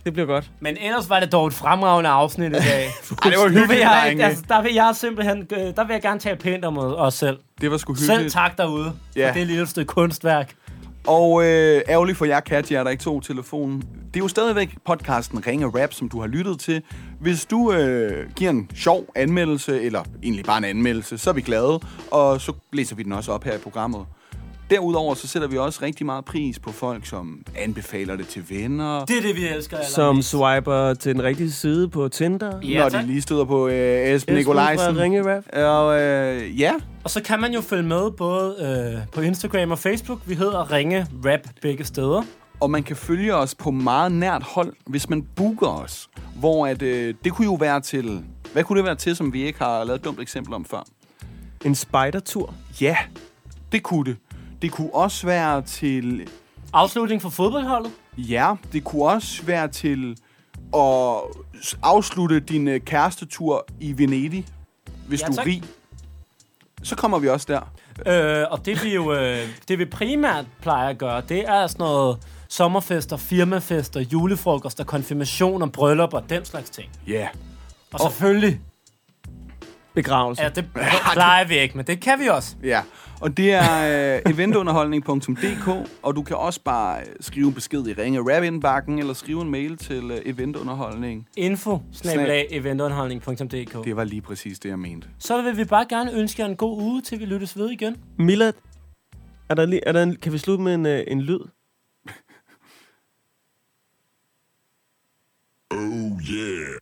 C: Det bliver godt.
A: Men ellers var det dog et fremragende afsnit i dag.
B: Ej, det var
A: nu vil
B: hyggeligt,
A: jeg, ikke,
B: drenge.
A: altså, der vil jeg simpelthen, øh, der vil jeg gerne tale pænt om os selv.
B: Det var sgu hyggeligt.
A: Selv tak derude
B: Ja.
A: for det lille stykke kunstværk.
B: Og øh, ærgerligt for jer, Katja, der ikke tog telefonen. Det er jo stadigvæk podcasten Ringe Rap, som du har lyttet til. Hvis du øh, giver en sjov anmeldelse, eller egentlig bare en anmeldelse, så er vi glade, og så læser vi den også op her i programmet. Derudover så sætter vi også rigtig meget pris på folk, som anbefaler det til venner,
A: Det er det, vi elsker. allermest.
C: Som swiper til den rigtige side på Tinder.
A: Ja,
B: når
A: tak.
B: de lige støder på øh, Esben
C: Esben
B: Nikolajsen.
C: fra Ringe Rap.
B: Og øh, ja,
A: Og så kan man jo følge med både øh, på Instagram og Facebook. Vi hedder Ringe Rap begge steder.
B: og man kan følge os på meget nært hold, hvis man booker os. Hvor at, øh, det kunne jo være til... Hvad kunne det være til, som vi ikke har lavet et dumt eksempel om før?
C: En spider-tur.
B: Ja, det kunne det. Det kunne også være til
A: Afslutning for fodboldholdet.
B: jer. Det kunne også være til at s- afslutte din øh, kærestetur i Venedig, hvis
A: Ja,
B: du er
A: tak.
B: rig. Så kommer vi også der.
A: Øh, og det vi jo øh, det vi primært plejer at gøre, det er sådan noget sommerfester, firmafester, julefrokoster, konfirmationer, bryllup og den slags ting.
B: Ja.
A: Og selvfølgelig...
C: Begravelse.
A: Ja, det plejer vi ikke, men det kan vi også.
B: Ja, og det er øh, eventunderholdning.dk, og du kan også bare øh, skrive en besked i ringe rap indbakken eller skrive en mail til øh, eventunderholdning.
A: Info snabel-a eventunderholdning.dk
B: Det var lige præcis det, jeg mente.
A: Så vil vi bare gerne ønske jer en god uge, til vi lyttes ved igen.
C: Milad, er der lige, er der en, kan vi slutte med en, øh, en lyd?
K: Oh yeah.